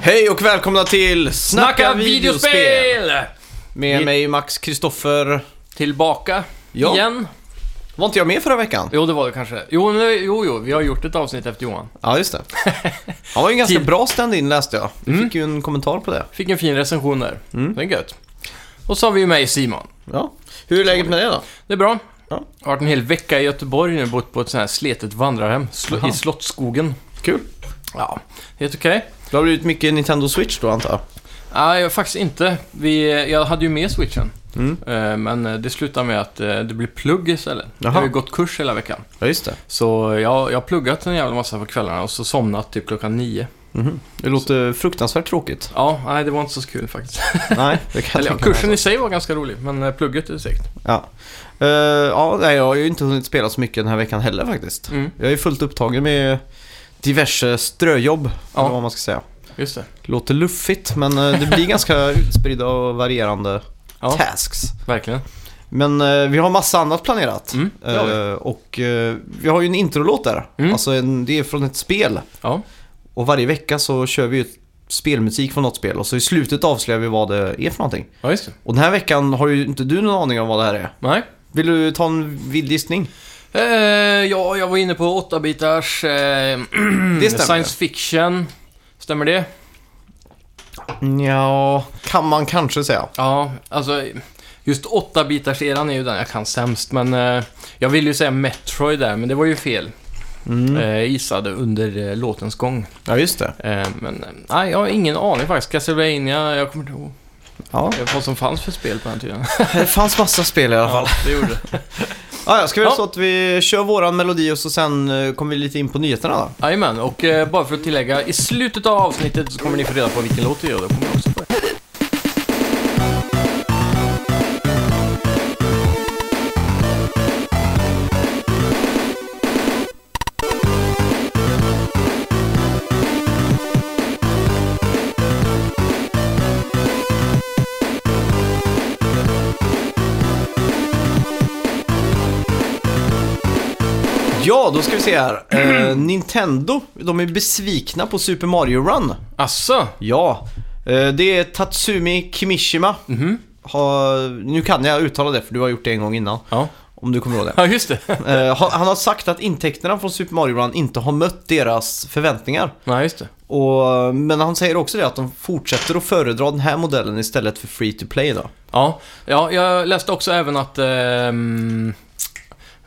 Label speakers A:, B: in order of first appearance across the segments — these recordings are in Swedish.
A: Hej och välkomna till
B: Snacka videospel!
A: Med
B: Vi-
A: mig Max Kristoffer.
B: Tillbaka
A: Ja.
B: igen.
A: Var inte jag med förra veckan?
B: Jo, det var det kanske. Jo, nu, jo, jo, vi har gjort ett avsnitt efter Johan.
A: Ja, just det. Han var ju en ganska
B: Till- Mm.
A: bra stand-in läste jag. Vi fick ju en kommentar på det.
B: Fick en fin recension där. Det är gött. Och så har vi ju mig Simon.
A: Ja. Hur är läget med dig då?
B: Det är bra.
A: Ja.
B: Jag har varit en hel vecka i Göteborg nu, bott på ett sånt här sletet vandrarhem sl-
A: Jaha.
B: i Slottsskogen.
A: Kul.
B: Ja, helt okej.
A: Det har blivit mycket Nintendo Switch då antar jag?
B: Nej, jag- faktiskt inte. Vi, jag hade ju med switchen.
A: Mm.
B: Eh, Men eh, det slutade med att eh, det blir plugg istället. Jag
A: Jaha.
B: har ju gått kurs hela veckan.
A: Ja, just det.
B: Så jag, jag har pluggat en jävla massa på kvällarna och så somnat typ klockan nio.
A: Mhm. Det låter fruktansvärt tråkigt.
B: Ja, nej det var inte så kul faktiskt.
A: Nej, det kan
B: Eller,
A: jag
B: ja,
A: tänka
B: kursen
A: mig.
B: i sig var ganska rolig, men eh, plugget är segt.
A: Ja. Eh, ja, nej, jag har ju inte hunnit spela så mycket den här veckan heller faktiskt.
B: Mm,
A: Jag är fullt upptagen med diverse ströjobb,
B: Ja.
A: eller vad man ska säga.
B: just det.
A: Låter luffigt, men eh, det blir ganska utspridda och varierande
B: Ja,
A: tasks.
B: verkligen.
A: Men eh, vi har massa annat planerat.
B: Mm, det har vi.
A: Eh, och eh, vi har ju en introlåt där.
B: Mm.
A: Alltså en, det är från ett spel.
B: Ja,
A: Och varje vecka så kör vi ju spelmusik från något spel. Och så i slutet avslöjar vi vad det är för någonting.
B: ja just det.
A: Och den här veckan har ju inte du någon aning om vad det här är.
B: Nej.
A: Vill du ta en vild gissning?
B: Eh, ja, jag var inne på 8-bitars, eh,
A: Det stämmer.
B: science fiction. Stämmer det?
A: Ja, kan man kanske säga.
B: Ja, alltså just 8-bitars eran är ju den jag kan sämst, men eh, jag ville ju säga Metroid där, men det var ju fel.
A: Mm.
B: Eh, gissade under eh, låtens gång.
A: Ja, just det.
B: Eh, men eh, nej, jag har ingen aning faktiskt. Castlevania, jag kommer inte ihåg
A: Ja.
B: vad som fanns för spel på den tiden.
A: Det fanns massa spel i alla fall.
B: Ja, det gjorde det.
A: Ja, jag ska väl
B: Ja.
A: så att vi kör våran melodi och så sen eh, kommer vi lite in på nyheterna då.
B: Jajamän, och eh, bara för att tillägga, i slutet av avsnittet så kommer ni få reda på vilken låt det är och då kommer jag också på det.
A: Ja, då ska vi se här. Eh,
B: Mm.
A: Nintendo, de är besvikna på Super Mario Run.
B: Asså?
A: Ja, eh, det är Tatsumi Kimishima.
B: Mhm.
A: Ha, nu kan jag uttala det för du har gjort det en gång innan.
B: Ja.
A: Om du kommer ihåg det.
B: ja, just det.
A: Eh, ha- han har sagt att intäkterna från Super Mario Run inte har mött deras förväntningar.
B: Nej, just det.
A: Och, men han säger också det att de fortsätter att föredra den här modellen istället för free to play då.
B: Ja, ja jag läste också även att ehm,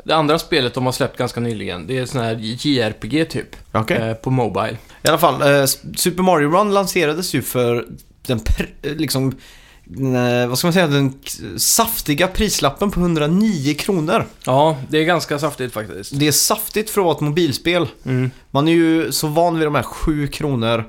B: det andra spelet de har släppt ganska nyligen, det är sån här JRPG typ, eh, på Mobile.
A: I alla fall, eh, Super Mario Run lanserades ju för den, pr- eh, liksom, den, eh, vad ska man säga, den k- saftiga prislappen på 109 kronor.
B: Ja, det är ganska saftigt faktiskt.
A: Det är saftigt för att vara ett mobilspel.
B: Mm.
A: Man är ju så van vid de här 7 kronor,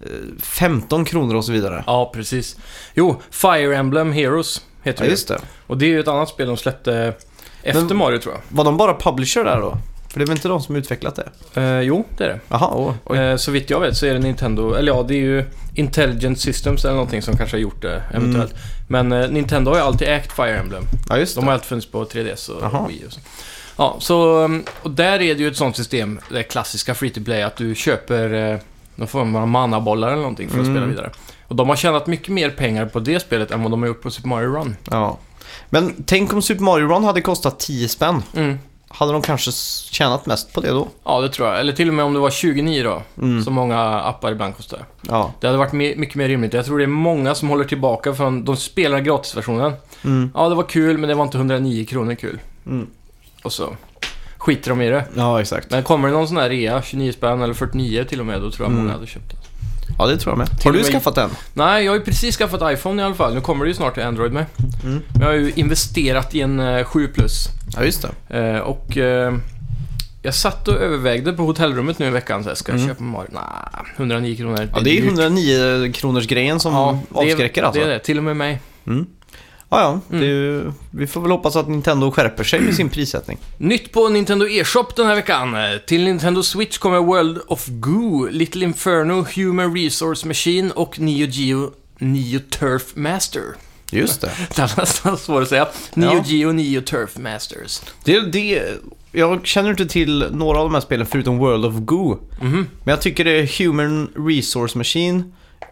A: eh, 15 kronor och så vidare.
B: Ja, precis. Jo, Fire Emblem Heroes heter
A: Ja,
B: det.
A: just det.
B: Och det är ju ett annat spel de släppte efter
A: Men-
B: Mario tror jag.
A: Var de bara publisher där då? För det är väl inte de som utvecklat det?
B: Eh, jo, det är det.
A: Jaha, åh. oj.
B: Eh, så vitt jag vet så är det Nintendo, eller ja det är ju Intelligent Systems eller någonting som kanske har gjort det
A: Mm.
B: eventuellt. Men eh, Nintendo har ju alltid ägt Fire Emblem.
A: Ja, just
B: De har
A: det.
B: alltid funnits på 3DS och
A: Aha.
B: Wii och så. Ja, så, mm, och där är det ju ett sånt system, det klassiska free to play, att du köper eh, någon form av manabollar eller någonting för att
A: Mm.
B: spela vidare. Och de har tjänat mycket mer pengar på det spelet än vad de har gjort på Super Mario Run.
A: Ja. Men tänk om Super Mario Run hade kostat 10 spänn.
B: Mm.
A: Hade de kanske s- tjänat mest på det då?
B: Ja, det tror jag. Eller till och med om det var 29 då,
A: Mm.
B: som många appar ibland kostar.
A: Ja.
B: Det hade varit me- mycket mer rimligt. Jag tror det är många som håller tillbaka från... De spelar gratisversionen.
A: Mm.
B: Ja, det var kul, men det var inte 109 kronor kul.
A: Mm.
B: Och så skiter de i det.
A: Ja, exakt.
B: Men kommer det någon sån här rea, 29 spänn eller 49 till och med, då tror jag
A: Mm.
B: många hade köpt den.
A: Ja, det tror jag med.
B: Till
A: Har
B: och
A: du
B: med-
A: skaffat den?
B: Nej, jag har ju precis skaffat iPhone i alla fall. Nu kommer det ju snart till Android med.
A: Mm.
B: Men jag har ju investerat i en eh, 7 plus.
A: Ja, just det.
B: Eh, och eh, Jag satt och övervägde på hotellrummet nu i veckan, så här, ska jag
A: Mm.
B: köpa Mario? Nah, 109 kronor.
A: Ja, det är
B: dyrt.
A: 109 kronors grejen som
B: Ja, det är-
A: avskräcker alltså.
B: Det är det, till och med mig.
A: Mm. Ja, ja.
B: Mm.
A: Det är ju, vi får väl hoppas att Nintendo skärper sig med sin prissättning.
B: Nytt på Nintendo E-shop den här veckan. Eh, Till Nintendo Switch kommer World of Goo, Little Inferno, Human Resource Machine och Neo Geo Neo Turf Master.
A: Just det.
B: Det är nästan svårt att säga. Neo
A: Ja.
B: Geo Neo Turf Masters.
A: det, det jag känner inte till några av de här spelen förutom World of Goo.
B: Mhm.
A: Men jag tycker det är Human Resource Machine och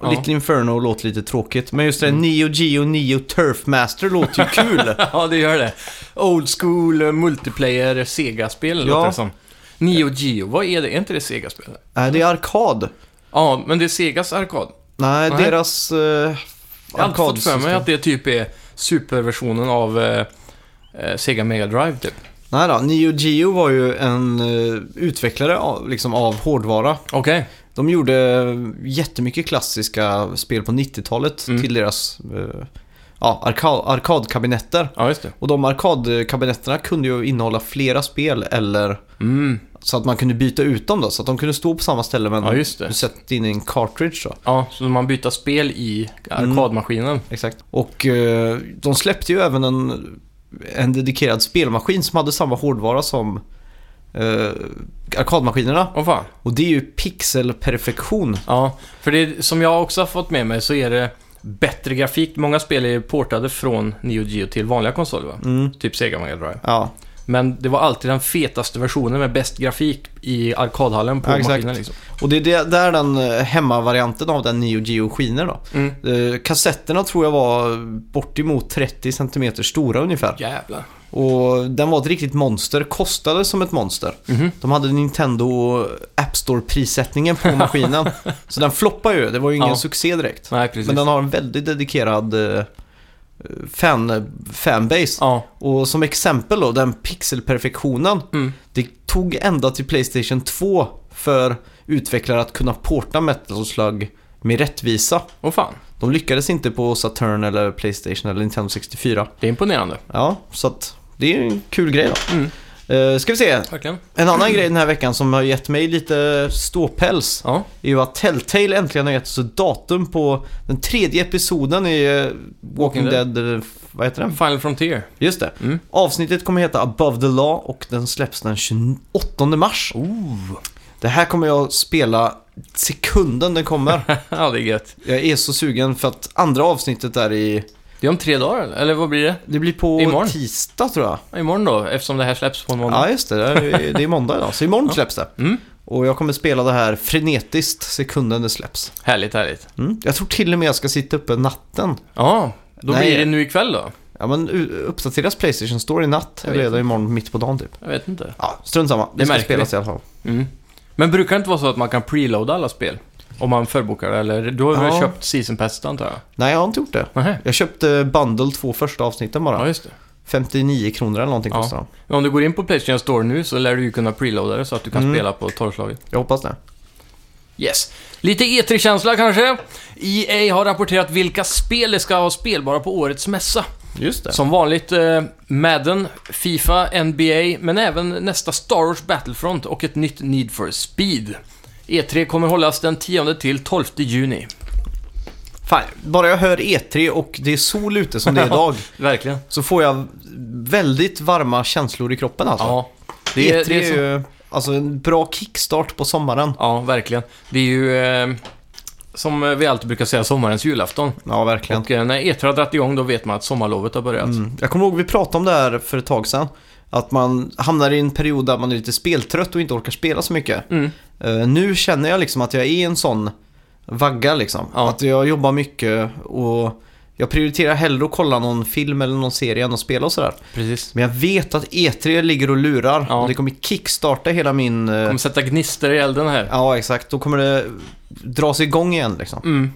B: Ja. Mm.
A: Little Inferno låter lite tråkigt. Men just det, Neo Geo Neo Turfmaster låter ju kul.
B: Ja, det gör det. Old school eh, multiplayer Sega-spel låter
A: Ja.
B: det som. Neo Geo, vad är det? Är inte det Sega-spel?
A: Nej, det är arkad.
B: Ja, men det är Segas arkad.
A: Nej,
B: Nej.
A: deras eh,
B: Jag har alltid fått för mig
A: arkadsystem.
B: att det typ är superversionen av eh, eh, Sega Mega Drive, typ.
A: Nej då, Neo Geo var ju en eh, utvecklare av, liksom, av hårdvara.
B: Okej.
A: De gjorde jättemycket klassiska spel på 90-talet
B: Mm.
A: till deras eh, ja, arka- arkadkabinetter.
B: Ja, just det.
A: Och de arkadkabinetterna kunde ju innehålla flera spel eller
B: Mm.
A: så att man kunde byta ut dem då. Så att de kunde stå på samma ställe men
B: Ja, just det.
A: du sätter in en cartridge då.
B: Ja, så man byter spel i arkadmaskinen.
A: Exakt. Och eh, de släppte ju även en, en dedikerad spelmaskin som hade samma hårdvara som eh, arkadmaskinerna.
B: Åh fan.
A: Och det är ju pixelperfektion.
B: Ja, för det som jag också har fått med mig så är det bättre grafik. Många spel är ju portade från Neo Geo till vanliga konsoler, va?
A: Mm.
B: Typ Sega Mega Drive.
A: Ja,
B: Men det var alltid den fetaste versionen med bäst grafik i arkadhallen på
A: Ja, exakt.
B: maskinen liksom.
A: Och det är det, där den eh, hemmavarianten av den Neo Geo skiner då.
B: Mm.
A: Eh, kassetterna tror jag var bortemot 30 cm stora ungefär.
B: Jävlar.
A: Och den var ett riktigt monster, kostade som ett monster.
B: Mhm.
A: De hade Nintendo App Store-prissättningen på maskinen. så den floppade ju, det var ju ingen
B: Ja.
A: succé direkt.
B: Nej, precis.
A: Men den har en väldigt dedikerad eh, fan, fanbase.
B: Ja.
A: Och som exempel då, den pixelperfektionen.
B: Mm.
A: Det tog ända till Playstation 2 för utvecklare att kunna porta Metal Slug med rättvisa.
B: Åh fan.
A: De lyckades inte på Saturn eller Playstation eller Nintendo 64.
B: Det är imponerande.
A: Ja, så att det är en kul grej då.
B: Mm.
A: Eh, ska vi se,
B: Verkligen.
A: en annan grej den här veckan som har gett mig lite ståpäls
B: Ja.
A: är ju att Telltale äntligen har gett oss ett datum på den tredje episoden i eh, Walking
B: Walking Dead.
A: Dead, eh, vad heter den?
B: Final Frontier.
A: Just det.
B: Mm.
A: Avsnittet kommer heta Above the Law och den släpps den 28 mars.
B: Oh.
A: Det här kommer jag spela sekunden den kommer.
B: ja, det är gött.
A: Jag är så sugen för att andra avsnittet där i...
B: Det är om tre dagar, eller? Eller vad blir det?
A: Det blir på
B: Imorgon.
A: tisdag tror jag.
B: Ja, Imorgon då, eftersom det här släpps på en måndag.
A: Ja, just det. Det är, det är måndag idag. Så imorgon släpps det.
B: Mm.
A: Och jag kommer spela det här frenetiskt sekunden det släpps.
B: Härligt, härligt.
A: Mm. Jag tror till och med jag ska sitta uppe natten.
B: Ja, då
A: Nej.
B: blir det nu ikväll då?
A: Ja, men u- uppdateras Playstation Store i natt
B: Jag
A: eller är
B: vet
A: det imorgon mitt på dagen typ?
B: Jag vet inte.
A: Ja, strunt samma. Det,
B: Det
A: ska
B: märker
A: spelas i alla fall.
B: Mm. Men brukar det inte vara så att man kan preloada alla spel? Om man förbokar det, eller? Du har väl
A: Ja.
B: köpt Season Passet antar jag?
A: Nej, jag har inte gjort det.
B: Nähä.
A: Jag köpte bundle två första avsnitten bara.
B: Ja, just det.
A: 59 kronor eller någonting
B: Ja.
A: kostar de.
B: Men om du går in på Playstation Store nu så lär du ju kunna preloada det så att du kan
A: Mm.
B: spela på torrslaget.
A: Jag hoppas det.
B: Yes. Lite E3-känsla kanske? EA har rapporterat vilka spel det ska vara spelbara på årets mässa.
A: Just det.
B: Som vanligt eh, Madden, Fifa, NBA, men även nästa Star Wars Battlefront och ett nytt Need for Speed. E3 kommer hållas den 10 till 12 juni.
A: Fan, bara jag hör E3 och det är sol ute som det är idag
B: Verkligen.
A: så får jag väldigt varma känslor i kroppen alltså.
B: Ja. Det är,
A: E3
B: det är så...
A: ju alltså, en bra kickstart på sommaren.
B: Ja, verkligen. Det är ju, eh, som vi alltid brukar säga, sommarens julafton.
A: Ja, verkligen.
B: Och eh, när E3 har dragit igång, då vet man att sommarlovet har börjat.
A: Mm. Jag kommer ihåg vi pratade om det här för ett tag sedan. Att man hamnar i en period där man är lite speltrött och inte orkar spela så mycket.
B: Mm.
A: Eh, nu känner jag liksom att jag är i en sån vagga liksom.
B: Ja.
A: Att jag jobbar mycket och jag prioriterar hellre att kolla någon film eller någon serie än att spela och sådär.
B: Precis.
A: Men jag vet att E3 ligger och lurar
B: Ja.
A: och det kommer kickstarta hela min... eh,
B: Kommer sätta gnistor i elden här.
A: Ja, exakt. Då kommer det dras igång igen liksom.
B: Mm.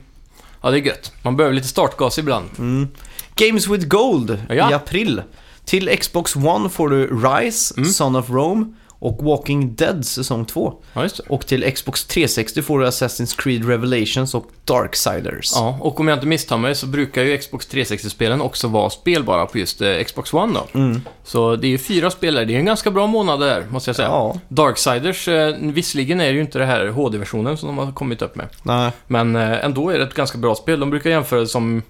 B: Ja, det är gött. Man behöver lite startgas ibland.
A: Mm. Games with Gold
B: Ja. Mm.
A: i april. Till Xbox One får du Rise, Son of Rome och Walking Dead säsong 2.
B: Ja, just det.
A: Och till Xbox 360 får du Assassin's Creed Revelations och Darksiders.
B: Ja, och om jag inte misstar mig så brukar ju Xbox 360-spelen också vara spelbara på just eh, Xbox One då.
A: Mm.
B: Så det är ju fyra spelare, det är en ganska bra månad där, måste jag säga.
A: Ja,
B: Darksiders, eh, visserligen är det ju inte det här HD-versionen som de har kommit upp med.
A: nej.
B: Men eh, ändå är det ett ganska bra spel. De brukar jämföra det som,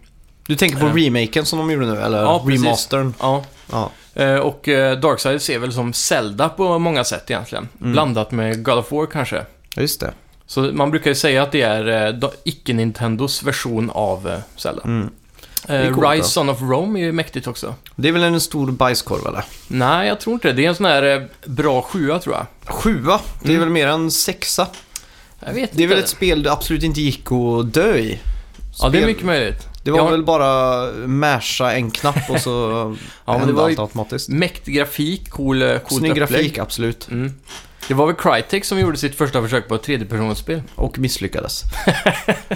A: Du tänker på
B: Eh.
A: remaken som de gjorde nu, eller
B: Ja, precis.
A: remastern?
B: ja.
A: Ja.
B: Eh, Och eh, Darksiders är väl som Zelda på många sätt egentligen.
A: Mm.
B: Blandat med God of War kanske.
A: ja, just det.
B: Så man brukar ju säga att det är eh, da- icke-Nintendos version av eh, Zelda.
A: Mm. är
B: Eh,
A: coolt,
B: Rise
A: då.
B: Son of Rome är ju mäktigt också.
A: Det är väl en stor bajskorv, eller?
B: Nej, jag tror inte det. Det är en sån här eh, bra sjua tror jag.
A: Sjua, det är
B: Mm.
A: väl mer en sexa.
B: Jag vet
A: Det är
B: inte.
A: väl ett spel det absolut inte gick att dö i.
B: Ja, det är
A: Spel-
B: mycket möjligt.
A: Det var
B: Ja.
A: väl bara masha en knapp och så
B: Ja, men det
A: hände
B: var ju
A: allt automatiskt.
B: mäktig grafik, cool, eh, coolt
A: Snygg
B: upplägg.
A: grafik, absolut.
B: Mm. Det var väl Crytek som gjorde sitt första försök på ett tredjepersonsspel.
A: Och misslyckades.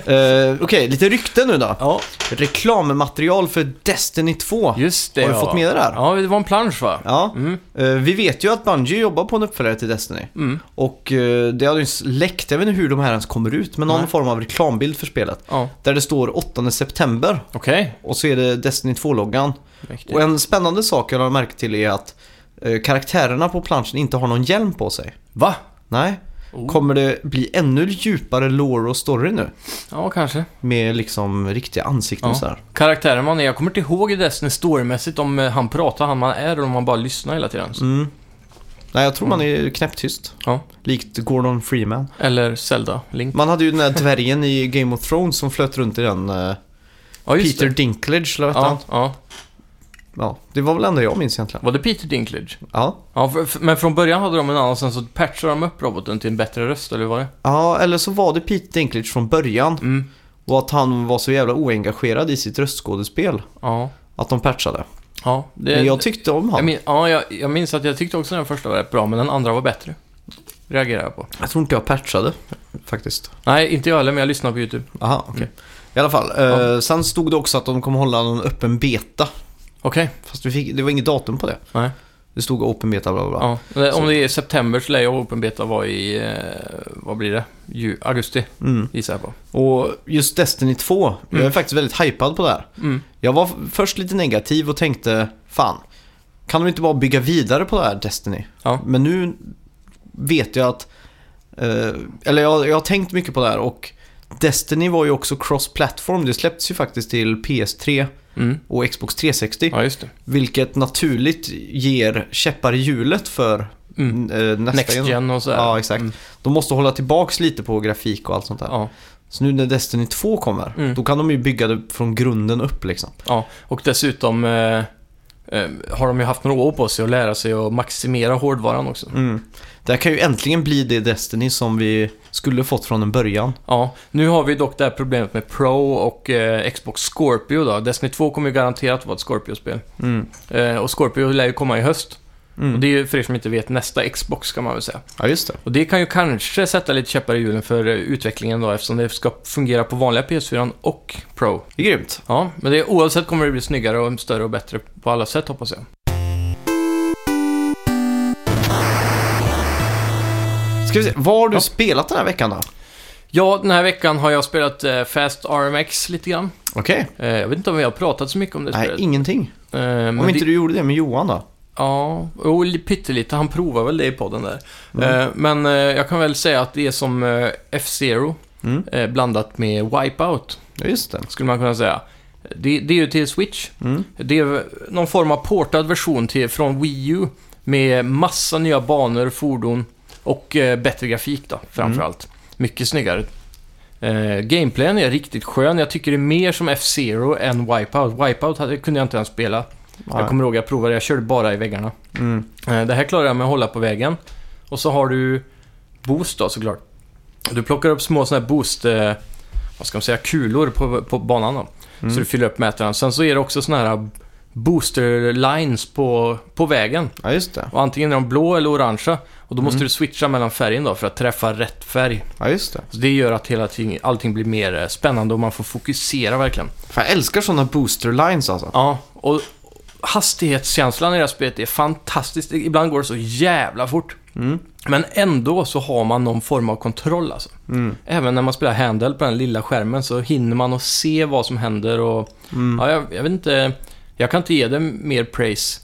A: Eh, Okej, lite rykte nu då.
B: Ja,
A: Reklammaterial för Destiny 2.
B: just det
A: Har du
B: ja.
A: fått med det där?
B: Ja, det var en plansch va?
A: Ja.
B: Mm.
A: Eh, vi vet ju att Bungie jobbar på en uppföljare till Destiny.
B: Mm.
A: Och eh, det har ju läckt, jag vet inte hur de här ens kommer ut, men någon
B: Nej.
A: form av reklambild för spelet.
B: Ja,
A: Där det står 8 september
B: okej.
A: och så är det Destiny 2-loggan.
B: Mäktigt.
A: Och en spännande sak jag har märkt till är att eh, karaktärerna på planschen inte har någon hjälm på sig.
B: Va?
A: Nej.
B: Oh.
A: Kommer det bli ännu djupare lore och story nu?
B: Ja, kanske.
A: Med liksom riktiga ansikten
B: Ja.
A: och sådär.
B: Karaktären man är, jag kommer inte ihåg i Destiny storymässigt om eh, han pratar, han man är, eller om man bara lyssnar hela tiden.
A: Mm. Nej, jag tror man är knäpptyst.
B: Ja.
A: Likt Gordon Freeman.
B: Eller Zelda, Link.
A: Man hade ju den där dvärgen i Game of Thrones som flöt runt i den. eh,
B: Ja, just
A: Peter
B: det.
A: Dinklage, eller vad hette han?
B: Ja, ja.
A: Ja, det var väl det enda jag minns egentligen.
B: Var det Peter Dinklage?
A: Ja.
B: Ja, för, för, men från början hade de en annan, sen så patchade de upp roboten till en bättre röst, eller vad var det?
A: ja, eller så var det Peter Dinklage från början.
B: Mm.
A: Och att han var så jävla oengagerad i sitt röstskådespel.
B: Ja.
A: Att de patchade.
B: Ja, det,
A: Men jag tyckte om
B: jag
A: han.
B: min, ja, jag, jag minns att jag tyckte också den första var rätt bra, men den andra var bättre. Reagerar jag på.
A: Jag tror inte jag patchade, faktiskt.
B: Nej, inte jag heller, men jag lyssnar på YouTube.
A: Aha, okej.
B: Mm.
A: I alla fall. eh, Sen stod det också att de kommer hålla någon öppen beta.
B: Okej,
A: Fast vi fick, det var inget datum på det.
B: nej.
A: Det stod open beta, bla bla bla.
B: Ja. Eh,
A: Så-
B: Om det är september så lär ju Open Beta vara i, eh, vad blir det? Ju, augusti,
A: Mm.
B: gissar jag på.
A: Och just Destiny 2, jag är faktiskt väldigt hypad på det här.
B: Mm.
A: Jag var f- först lite negativ och tänkte, fan, kan de inte bara bygga vidare på det här Destiny?
B: Ja.
A: Men nu vet jag att, eh, eller jag, jag har tänkt mycket på det här och Destiny var ju också cross-platform. Det släpptes ju faktiskt till PS3
B: Mm.
A: och Xbox 360.
B: Ja, just det.
A: Vilket naturligt ger käppar i hjulet för
B: Mm.
A: eh, nästa
B: Next
A: gen.
B: Gen och sådär.
A: Ja, exakt.
B: Mm.
A: De måste hålla tillbaks lite på grafik och allt sånt där.
B: Ja.
A: Så nu när Destiny 2 kommer,
B: Mm.
A: då kan de ju bygga det från grunden upp liksom.
B: ja, och dessutom eh, eh, har de ju haft några år på sig att lära sig att maximera hårdvaran också.
A: Mm. Det här kan ju äntligen bli det Destiny som vi skulle fått från en början.
B: Ja, nu har vi dock det här problemet med Pro och eh, Xbox Scorpio då. Destiny 2 kommer ju garanterat vara ett Scorpio-spel.
A: Mm.
B: Eh, och Scorpio lär ju komma i höst.
A: Mm.
B: Och det är ju för er som inte vet nästa Xbox kan man väl säga.
A: Ja, just det.
B: Och det kan ju kanske sätta lite käppar i hjulen för eh, utvecklingen då eftersom det ska fungera på vanliga PS4 och Pro.
A: Det är grymt.
B: Ja, men det, oavsett kommer det bli snyggare och större och bättre på alla sätt hoppas jag.
A: Ska vi se, vad har du
B: Ja.
A: spelat den här veckan då?
B: Ja, den här veckan har jag spelat eh, Fast RMX lite grann.
A: Okej.
B: Eh, jag vet inte om vi har pratat så mycket om det
A: Nej,
B: spelet.
A: ingenting.
B: Eh, men
A: Om inte
B: det-
A: du gjorde det med Johan då?
B: Ja, och li- pyttelite. Han provar väl det i podden där.
A: Mm.
B: Eh, men eh, jag kan väl säga att det är som eh, F-Zero
A: Mm.
B: eh, blandat med Wipeout,
A: Ja, just det.
B: skulle man kunna säga. Det, det är ju till Switch.
A: Mm.
B: Det är någon form av portad version till, från Wii U med massa nya banor, fordon och eh, bättre grafik då, framförallt.
A: Mm.
B: Mycket snyggare. Eh, gameplayen är riktigt skön. Jag tycker det är mer som F-Zero än Wipeout. Wipeout hade, kunde jag inte ens spela.
A: Nej.
B: Jag kommer ihåg jag provade, jag körde bara i väggarna.
A: Mm.
B: Eh, Det här klarar jag med att hålla på vägen. Och så har du boost då såklart. Du plockar upp små sådana här boost, eh, vad ska man säga, kulor på, på banan då. Så du fyller upp mätaren. Sen så är det också sådana här booster lines på, på vägen.
A: Ja, just det.
B: Och antingen är de blå eller orangea. Och då måste du switcha mellan färgen då för att träffa rätt färg.
A: Ja, just det.
B: Så det gör att hela ting, allting blir mer eh, spännande och man får fokusera verkligen.
A: Fan, jag älskar sådana booster lines alltså.
B: Ja, och hastighetskänslan i det här spelet är fantastisk. Ibland går det så jävla fort.
A: Mm.
B: Men ändå så har man någon form av kontroll alltså.
A: Mm.
B: Även när man spelar handheld på den lilla skärmen så hinner man att se vad som händer och...
A: Mm.
B: Ja, jag, jag vet inte... Jag kan inte ge det mer praise.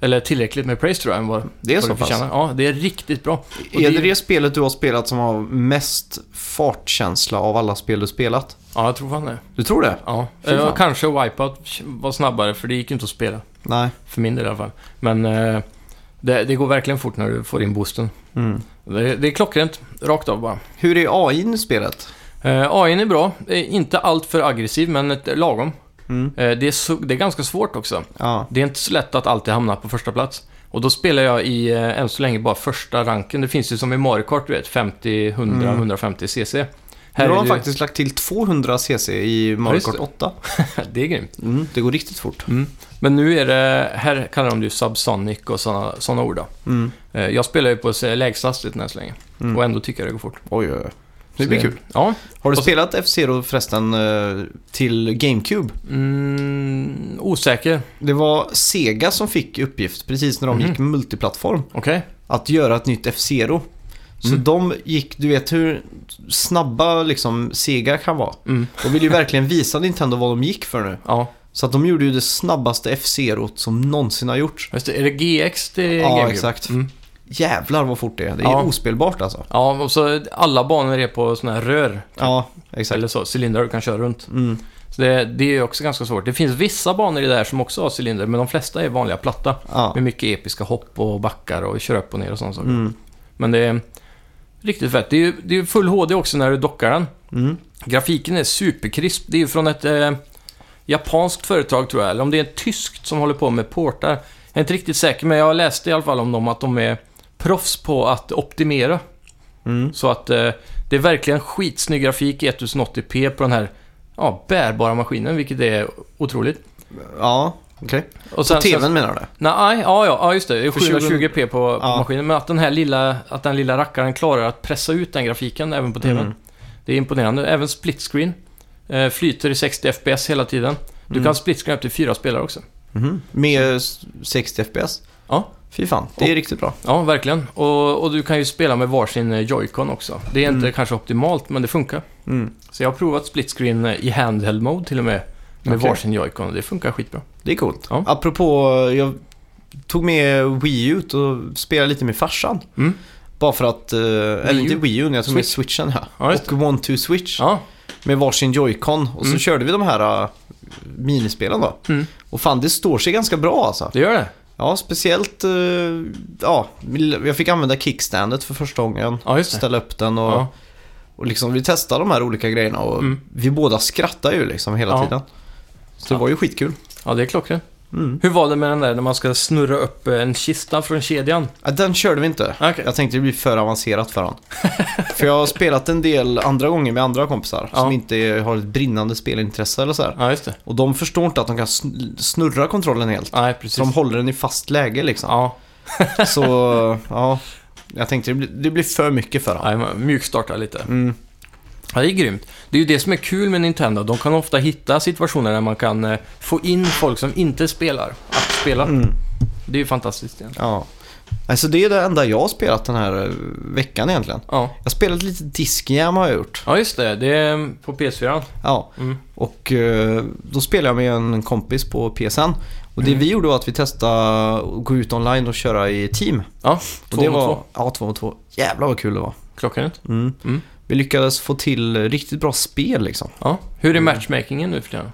B: Eller tillräckligt med praise tror jag än vad
A: Det är
B: vad
A: så
B: det förtjänar.
A: pass.
B: Ja, det är riktigt bra. Och
A: Är det det spelet du har spelat som har mest fartkänsla av alla spel du spelat?
B: Ja, jag tror fan det.
A: Du tror det?
B: Ja.
A: Fy fan.
B: Eh, Kanske Wipeout var snabbare, för det gick ju inte att spela.
A: Nej.
B: För min del i alla fall. Men eh, det, det går verkligen fort när du får in boosten.
A: Mm.
B: Det, det är klockrent, rakt av bara.
A: Hur är AI i spelet?
B: Eh, AIn är bra, eh, inte allt för aggressiv, men ett, lagom.
A: Mm.
B: Eh, det, är så, det är ganska svårt också.
A: Ja.
B: Det är inte så lätt att alltid hamna på första plats. Och då spelar jag i, eh, än så länge, bara första ranken. Det finns ju som i Mario Kart, du vet, 50, 100,
A: Mm.
B: 150 cc.
A: Här nu har
B: är
A: de
B: det-
A: faktiskt lagt till 200 cc i Mario
B: just
A: Kart
B: det.
A: 8.
B: det är grymt.
A: Mm. Det går riktigt fort.
B: Men nu är det, här kallar de det ju subsonic och sådana såna ord då.
A: Mm.
B: Eh, Jag spelar ju på eh, lägsta hastigheten än så länge
A: Mm.
B: och ändå tycker jag det går fort.
A: Oj, oj, oj. Det
B: Så
A: blir kul.
B: Ja.
A: Har du
B: Och så-
A: spelat F-Zero förresten eh, till GameCube?
B: Mm, osäker.
A: Det var Sega som fick uppgift precis när de
B: Mhm.
A: gick multiplattform
B: Okej.
A: att göra ett nytt F-Zero. Så
B: Mm.
A: de gick, du vet hur snabba liksom Sega kan vara.
B: Mm.
A: De ville ju verkligen visa Nintendo vad de gick för nu.
B: Ja,
A: Så att de gjorde ju det snabbaste F-Zero som någonsin har gjorts.
B: just det. Är det GX till
A: Ja,
B: GameCube?
A: exakt.
B: Mm.
A: Jävlar vad fort det är. Det är
B: Ja.
A: ospelbart alltså.
B: Ja, och så alla banor är på sådana här rör.
A: Ja, exakt.
B: Eller så, cylindrar du kan köra runt.
A: Mm.
B: Så det, det är ju också ganska svårt. Det finns vissa banor i det här som också har cylinder, men de flesta är vanliga platta.
A: Ja.
B: Med mycket episka hopp och backar och köra upp och ner och sådana saker.
A: Mm.
B: Men det är riktigt fett. Det är ju det är ju full HD också när du dockar den.
A: Mm.
B: Grafiken är superkrisp. Det är ju från ett eh, japanskt företag tror jag, eller om det är ett tyskt som håller på med portar. Jag är inte riktigt säker, men jag läste i alla fall om dem att de är proffs på att optimera.
A: Mm.
B: Så att eh, det är verkligen skitsnygg grafik i 1080p på den här ja, bärbara maskinen, vilket är otroligt.
A: Ja, okej.
B: Och
A: På tvn menar du?
B: Nej, ja, ja, ja, just det. Det är
A: För 20
B: 720p på, på
A: Ja.
B: maskinen. Men att den här lilla, att den lilla rackaren klarar att pressa ut den grafiken även på TVn.
A: Mm.
B: Det är imponerande. Även split screen. Eh, flyter i 60 FPS hela tiden. Du
A: Mm.
B: kan split screen upp till fyra spelare också.
A: Mhm. Med s- 60 FPS?
B: Ja.
A: Fy fan, det är riktigt bra.
B: Ja, verkligen. Och, och du kan ju spela med varsin eh, joy-con också. Det är inte
A: Mm.
B: kanske optimalt, men det funkar. Så jag har provat split screen eh, i handheld mode till och med. Med
A: Okej.
B: varsin joy-con och det funkar skitbra.
A: Det är coolt.
B: Ja.
A: Apropå, jag tog med Wii U ut och spelade lite med farsan.
B: Mm.
A: Bara för att, eh, eller inte Wii U, utan jag tog med switchen här.
B: Ja, just
A: och One Two Switch
B: Ja,
A: med varsin Joy-Con. Och så
B: Mm.
A: körde vi de här eh, minispelen då.
B: Mm.
A: Och fan, det står sig ganska bra alltså.
B: det gör det.
A: Ja, speciellt, eh, ja, jag fick använda kickstandet för första gången.
B: Ja, just det.
A: Ställa upp den och...
B: Ja.
A: Och liksom, vi testade de här olika grejerna och
B: Mm.
A: vi båda skrattade ju liksom hela
B: Ja.
A: tiden. Så
B: Ja.
A: det var ju skitkul.
B: ja, det är klockrent.
A: Mm.
B: Hur var det med den där när man ska snurra upp eh, en kista från kedjan?
A: Ja, Den körde vi inte.
B: Okej.
A: Jag tänkte det blir för avancerat för honom. för jag har spelat en del andra gånger med andra kompisar
B: Ja.
A: som inte är- har ett brinnande spelintresse eller så här.
B: Ja, just det.
A: Och de förstår inte att de kan sn- snurra kontrollen helt.
B: Nej, precis.
A: Så de håller den i fast läge liksom.
B: Ja,
A: Så, ja. Jag tänkte det blir, det blir för mycket för honom.
B: nej, man mjukstartar lite.
A: Mm.
B: Ja, det är grymt. Det är ju det som är kul med Nintendo. De kan ofta hitta situationer där man kan eh, få in folk som inte spelar att spela.
A: Mm.
B: Det är ju fantastiskt egentligen.
A: Ja. Alltså det är det enda jag har spelat den här eh, veckan egentligen.
B: Ja.
A: Jag har spelat lite Discjam har jag gjort.
B: ja, just det. Det är eh, på PS4.
A: Ja,
B: Mm.
A: och eh, då spelade jag med en kompis på PSN. Och det
B: Mm.
A: vi gjorde var att vi testade att gå ut online och köra i team.
B: Ja,
A: Och
B: två
A: det
B: mot
A: var,
B: två.
A: Ja, två mot två. Jävlar vad kul det var.
B: Klockrent.
A: Mm.
B: Mm.
A: Vi lyckades få till riktigt bra spel liksom.
B: Ja. Hur är matchmakingen nu för tiden?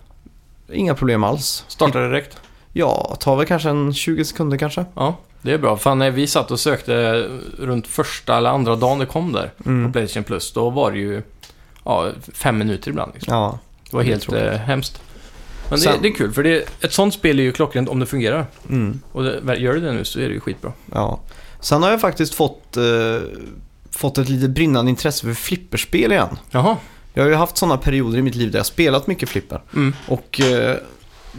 A: Inga problem alls.
B: Startar det direkt?
A: Ja, tar väl kanske en 20 sekunder kanske.
B: Ja, det är bra. Fan, när vi satt och sökte runt första eller andra dagen det kom där
A: Mm.
B: på Playstation Plus, då var det ju ja, fem minuter ibland. Liksom.
A: Ja.
B: Det var
A: Det är
B: helt
A: tråkigt.
B: eh, hemskt. Men det,
A: Sen-
B: det är kul, för det, ett sånt spel är ju klockrent om det fungerar.
A: Mm.
B: Och det, gör det det nu så är det ju skitbra.
A: ja. Sen har jag faktiskt fått, eh, fått ett lite brinnande intresse för flipperspel igen.
B: Jaha.
A: Jag har ju haft sådana perioder i mitt liv där jag spelat mycket flipper.
B: Mm.
A: Och eh,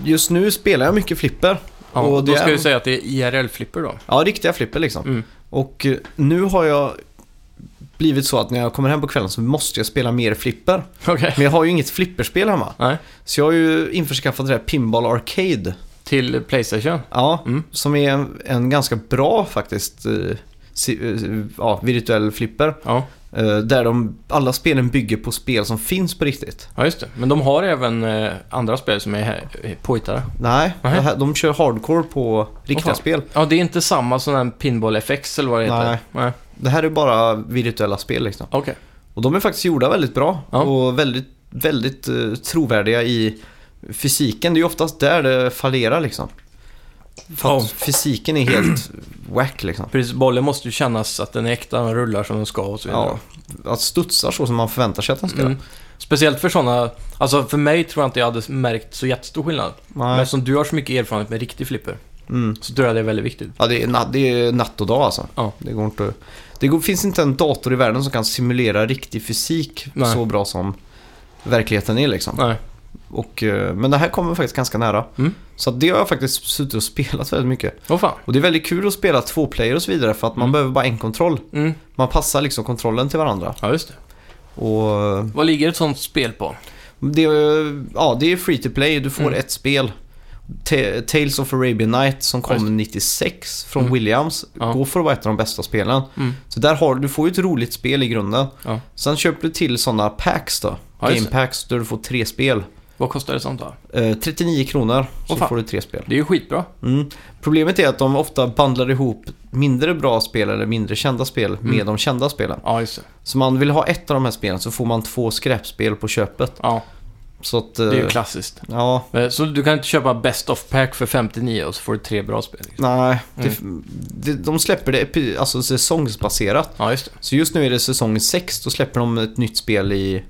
A: just nu spelar jag mycket flipper.
B: Ja,
A: Och
B: då
A: det
B: ska
A: är-
B: vi säga att det är IRL-flipper då.
A: Ja, riktiga flipper liksom.
B: Mm.
A: Och eh, nu har jag blivit så att när jag kommer hem på kvällen så måste jag spela mer flipper.
B: Okej.
A: Men jag har ju inget flipperspel hemma.
B: Nej.
A: Så jag har ju införskaffat det här Pinball Arcade.
B: till Playstation.
A: Ja,
B: Mm.
A: som är en, en ganska bra faktiskt eh, si- eh, ja, virtuell flipper.
B: Ja.
A: Eh, där de, alla spelen bygger på spel som finns på riktigt.
B: ja, just det. Men de har även eh, andra spel som är eh, påhittade.
A: Nej, det
B: Nej.
A: här, de kör hardcore på riktiga
B: Åh, fan.
A: spel.
B: Ja, det är inte samma som den Pinball FX eller vad det heter.
A: Nej.
B: Nej.
A: Det här är bara virtuella spel liksom.
B: Okej.
A: Och de är faktiskt gjorda väldigt bra
B: Ja.
A: och väldigt, väldigt eh, trovärdiga i fysiken. Det är ju oftast där det fallerar liksom. För att
B: Ja.
A: fysiken är helt wack liksom.
B: Precis, bollen måste ju kännas att den är äkta, den rullar som den ska och så vidare.
A: Ja, att studsar så som man förväntar sig att den ska.
B: Mm. Speciellt för sådana, alltså för mig tror jag inte jag hade märkt så jättestor skillnad. Men
A: Nej.
B: eftersom du har så mycket erfarenhet med riktig flipper
A: Mm.
B: så tror jag det är väldigt viktigt.
A: Ja, det är, na- det är natt och dag alltså.
B: Ja.
A: Det, går inte, det går, finns inte en dator i världen som kan simulera riktig fysik
B: Nej.
A: så bra som verkligheten är liksom.
B: Nej.
A: Och, eh, men det här kommer faktiskt ganska nära.
B: Mm.
A: Så att det har jag faktiskt suttit och spelat väldigt mycket.
B: Åh fan.
A: Och det är väldigt kul att spela två player och så vidare för att man
B: Mm.
A: behöver bara en kontroll.
B: Mm.
A: Man passar liksom kontrollen till varandra.
B: Ja, just det.
A: Och eh,
B: Vad ligger ett sånt spel på?
A: det, eh, ja, det är free to play, du får
B: Mm.
A: ett spel. Ta- Tales of Arabian Night som
B: Ja, just det.
A: kom 96 från
B: Mm.
A: Williams.
B: Ja.
A: Går för att vara ett av de bästa spelen.
B: Mm.
A: Så där har, du får ju ett roligt spel i grunden.
B: Ja.
A: Sen köper du till sådana packs då.
B: Ja, just
A: game
B: det.
A: packs där du får tre spel.
B: Vad kostar ett sånt då?
A: Eh, 39 kronor så
B: Åh, fan.
A: får du tre spel.
B: Det är ju skitbra.
A: Mm. Problemet är att de ofta bandlar ihop mindre bra spel eller mindre kända spel
B: Mm.
A: med de kända spelen.
B: Ja, just det.
A: Så man vill ha ett av de här spelen så får man två skräpspel på köpet.
B: Ja,
A: Så att...
B: det är ju
A: eh,
B: klassiskt.
A: ja,
B: Eh, Så du kan inte köpa Best of Pack för 59 och så får du tre bra spel? liksom.
A: nej. Det, det, de släpper det epi- alltså, säsongsbaserat.
B: Ja, just det.
A: Så just nu är det säsong 6, då släpper de ett nytt spel i,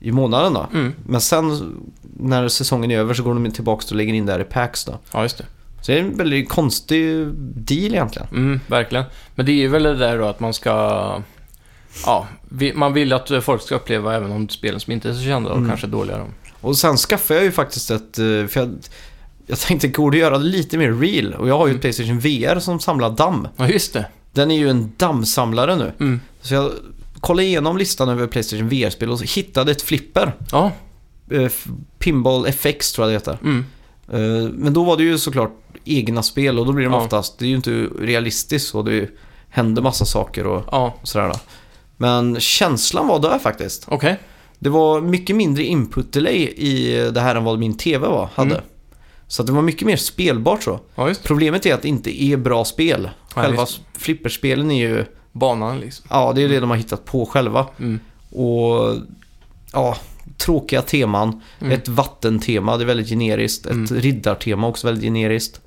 A: i månaden då.
B: Mm.
A: Men sen när säsongen är över så går de tillbaka och lägger in det här i packs då.
B: Ja, just det.
A: Så det är en väldigt konstig deal egentligen.
B: Mm, verkligen. Men det är ju väl det där då att man ska... Ja, vi, man vill att eh, folk ska uppleva även om spelen som inte är så kända och
A: Mm.
B: kanske dåliga. Då.
A: Och sen skaffade jag ju faktiskt ett, eh, för jag, jag tänkte går det att göra lite mer real? Och jag har ju
B: Mm.
A: ett Playstation VR som samlar damm.
B: Ja, just det.
A: Den är ju en dammsamlare nu.
B: Mm.
A: Så jag kollade igenom listan över Playstation VR-spel och hittade ett flipper.
B: Ja,
A: Eh, f- Pinball FX tror jag det heter.
B: mm.
A: Eh, Men då var det ju såklart egna spel och då blir de
B: Ja.
A: oftast, det är ju inte realistiskt och det händer massa saker och
B: ja
A: sådär. då. Men känslan var där faktiskt.
B: okej.
A: Det var mycket mindre input delay i det här än vad min TV var, hade.
B: Mm.
A: Så att det var mycket mer spelbart så.
B: Ja, just det.
A: Problemet är att det inte är bra spel.
B: Nej,
A: Själva
B: just
A: flipperspelen är ju,
B: Banan liksom.
A: ja det är det de har hittat på själva.
B: Mm.
A: Och ja, tråkiga teman.
B: Mm.
A: Ett vattentema, det är väldigt generiskt. Ett
B: Mm.
A: riddartema också väldigt generiskt.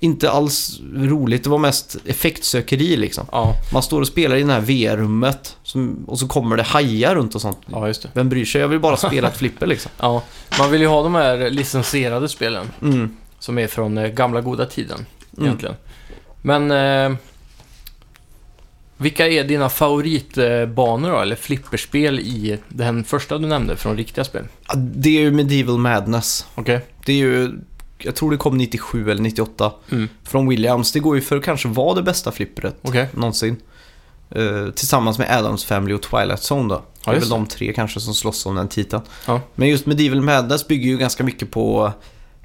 A: Inte alls roligt, det var mest effektsökeri liksom.
B: Ja,
A: Man står och spelar i det här VR-rummet som- och så kommer det hajar runt och sånt.
B: ja, just det.
A: Vem bryr sig? Jag vill bara spela ett flipper liksom.
B: Ja, man vill ju ha de här licensierade spelen
A: Mm.
B: som är från eh, gamla goda tiden
A: Mm.
B: egentligen. Men eh, vilka är dina favoritbanor då, eller flipperspel i den första du nämnde från riktiga spel?
A: Ja, Det är ju Medieval Madness.
B: Okej.
A: Det är ju, jag tror det kom 97 eller 98
B: Mm.
A: från Williams. Det går ju för att kanske vara det bästa flippret
B: Okej.
A: någonsin. Eh, tillsammans med Adams Family och Twilight Zone då. Det
B: Ja,
A: är
B: just
A: väl de tre kanske som slåss om den titeln.
B: Ja.
A: Men just Medieval Madness bygger ju ganska mycket på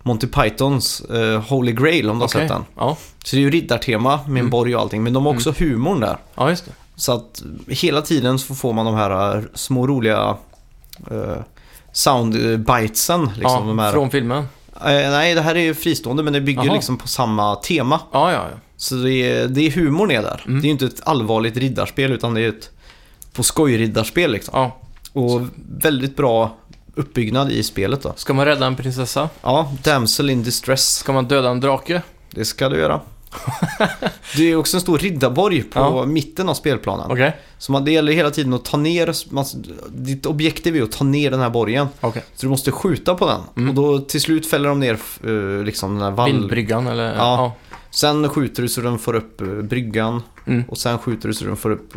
A: Monty Pythons eh, Holy Grail om du har
B: Okej.
A: sett den.
B: Ja.
A: Så det är ju riddartema med en
B: Mm.
A: borg och allting. Men de har också humorn där.
B: ja, just det.
A: Så att hela tiden så får man de här eh, små roliga eh, soundbitesen. Liksom,
B: ja,
A: de här.
B: Från filmen?
A: Eh, nej, det här är ju fristående men det bygger
B: Jaha.
A: liksom på samma tema.
B: Ja, ja, ja.
A: Så det är, det är humorn är där.
B: Mm.
A: Det är ju inte ett allvarligt riddarspel utan det är ett på skoj-riddarspel liksom.
B: ja.
A: Och väldigt bra uppbyggnad i spelet då.
B: Ska man rädda en prinsessa?
A: Ja, Damsel in Distress.
B: Ska man döda en drake?
A: Det ska du göra. det är också en stor riddarborg på
B: Ja.
A: mitten av spelplanen.
B: Okej.
A: Så man, det gäller hela tiden att ta ner, man, ditt objektiv är ju att ta ner den här borgen.
B: Okej.
A: Så du måste skjuta på den.
B: Mm.
A: Och då till slut fäller de ner eh, liksom den här vall...
B: Vindbryggan eller?
A: Ja. Sen skjuter du så den får upp eh, bryggan.
B: Ja. Mm.
A: Och sen skjuter du så den får upp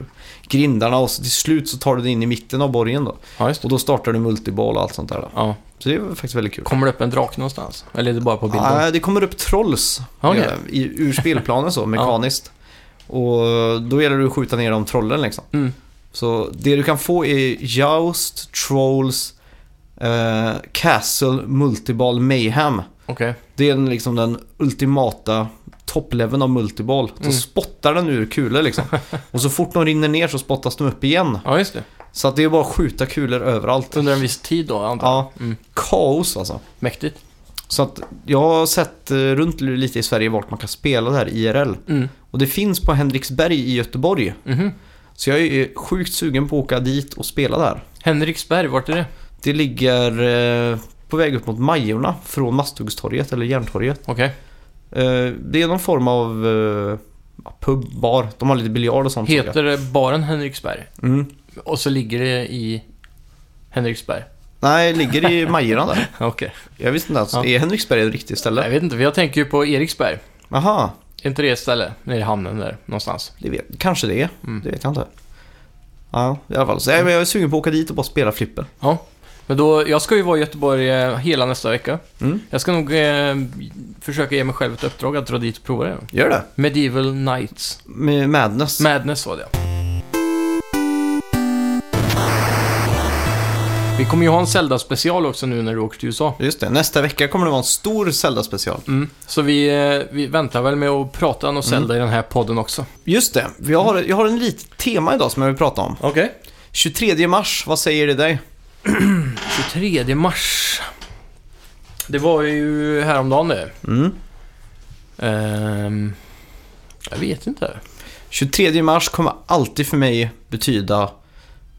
A: grindarna. Och så till slut så tar du dig in i mitten av borgen då.
B: ja, just det.
A: Och då startar du multiball och allt sånt där. Då.
B: Ja.
A: Så det är faktiskt väldigt kul.
B: Kommer det upp en drake någonstans? Eller är det bara på bilden?
A: Nej, det kommer upp trolls
B: Okej.
A: eh, i, ur spelplanen så, mekaniskt. Och då gäller det att skjuta ner de trollen liksom.
B: Mm.
A: Så det du kan få är Joust, Trolls, eh, Castle, Multiball, Mayhem.
B: Okej.
A: Det är den, liksom den ultimata toppleveln av multiball. Så
B: Mm.
A: spottar den ur kulor liksom. Och så fort de rinner ner så spottas de upp igen.
B: Ja, just det.
A: Så att det är bara att skjuta kulor överallt.
B: Under en viss tid då, antar jag.
A: Ja,
B: Mm.
A: kaos alltså.
B: Mäktigt.
A: Så att jag har sett eh, runt lite i Sverige vart man kan spela det här IRL.
B: Mm.
A: Och det finns på Henriksberg i Göteborg.
B: Mhm.
A: Så jag är sjukt sugen på att åka dit och spela där.
B: Henriksberg, vart är det?
A: Det ligger eh, på väg upp mot Majorna från Masthuggstorget eller Järntorget.
B: Okej.
A: Eh, det är någon form av eh, pub, bar. De har lite biljard och sånt. såg jag.
B: Heter baren Henriksberg?
A: Mm.
B: Och så ligger det i Henriksberg?
A: Nej, det ligger i Majorna där.
B: Okej.
A: Jag visste inte ens.
B: Ja.
A: Är Henriksberg ett riktigt
B: Jag
A: ställe?
B: vet inte, för jag tänker ju på Eriksberg.
A: Aha,
B: Är inte det ett ställe? Nere i hamnen där, någonstans.
A: det vet, kanske det är.
B: Mm.
A: Det vet jag inte. Ja, i alla fall. Så, nej, men jag är sugen på att åka dit och bara spela flipper.
B: Ja. Men då, jag ska ju vara i Göteborg eh, hela nästa vecka.
A: Mm.
B: Jag ska nog eh, försöka ge mig själv ett uppdrag att dra dit och prova det.
A: Gör det.
B: Medieval Knights.
A: Med Madness.
B: Madness var det ja. Vi kommer ju ha en Zelda-special också nu när du åker till USA.
A: Just det. Nästa vecka kommer det vara en stor Zelda-special.
B: Mm. Så vi, eh, vi väntar väl med att prata om Zelda i den här podden också.
A: Just det. Jag har, jag har en litet tema idag som jag vill prata om.
B: Okej.
A: 23 mars, vad säger det dig?
B: 23 mars. Det var ju häromdagen det.
A: Mm.
B: Ehm, jag vet inte.
A: 23 mars kommer alltid för mig betyda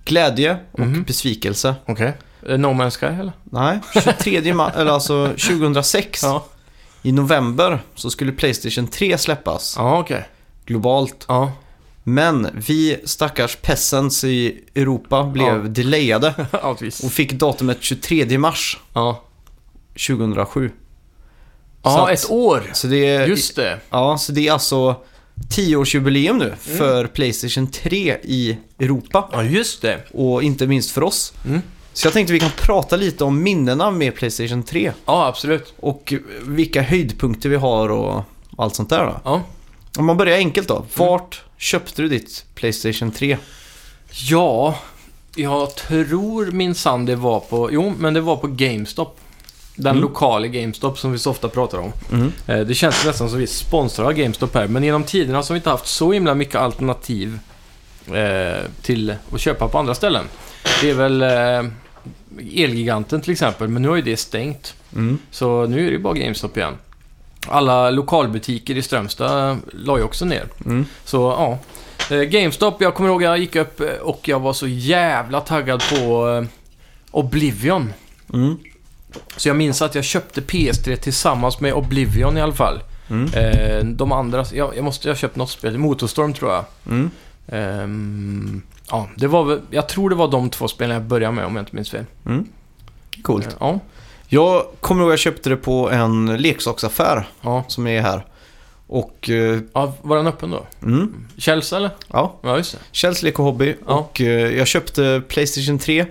A: glädje och
B: Mhm.
A: besvikelse.
B: Okej. Eh, No Man's Sky eller?
A: Nej, 23 mars, eller alltså 2006 i november så skulle Playstation 3 släppas
B: Ja, okej.
A: globalt.
B: Ja.
A: Men vi stackars peasants i Europa blev
B: Ja.
A: delayade
B: Allt visst.
A: och fick datumet 23 mars
B: Ja.
A: 2007. Så
B: Ja,
A: att-
B: ett år.
A: Så det är,
B: Just det.
A: Ja, så det är alltså 10-årsjubileum nu
B: Mm.
A: för Playstation 3 i Europa
B: Ja, just det.
A: och inte minst för oss.
B: Mm.
A: Så jag tänkte vi kan prata lite om minnena med Playstation 3
B: Ja, absolut.
A: och vilka höjdpunkter vi har och allt sånt där då.
B: Ja.
A: Om man börjar enkelt då. Vart köpte du ditt Playstation 3?
B: Ja, jag tror minsann det var på... Jo, men det var på GameStop. Den
A: Mm.
B: lokala GameStop som vi så ofta pratar om.
A: Mm.
B: Eh, Det känns nästan som vi sponsrar av GameStop här, men genom tiderna så har vi inte haft så himla mycket alternativ eh, till att köpa på andra ställen. Det är väl eh, Elgiganten till exempel, men nu har ju det stängt.
A: Mm.
B: Så nu är det ju bara GameStop igen. Alla lokalbutiker i Strömstad la ju också ner.
A: Mm.
B: Så ja. Eh, GameStop, jag kommer ihåg jag gick upp eh, och jag var så jävla taggad på eh, Oblivion.
A: Mm.
B: Så jag minns att jag köpte PS3 tillsammans med Oblivion i alla fall.
A: Mm.
B: Eh, de andra, jag, jag måste ha köpt något spel, Motorstorm tror jag.
A: Mm.
B: Ehm, ja, det var väl, jag tror det var de två spelen jag började med om jag inte minns fel.
A: Coolt.
B: Eh, Ja,
A: Jag kommer ihåg jag köpte det på en leksaksaffär
B: ja.
A: som är här. Och... eh,
B: ja. Var den öppen då?
A: Mm.
B: Chelsea eller?
A: Ja,
B: Ja, just det.
A: Kjells lek och hobby.
B: Ja.
A: Och eh, jag köpte Playstation 3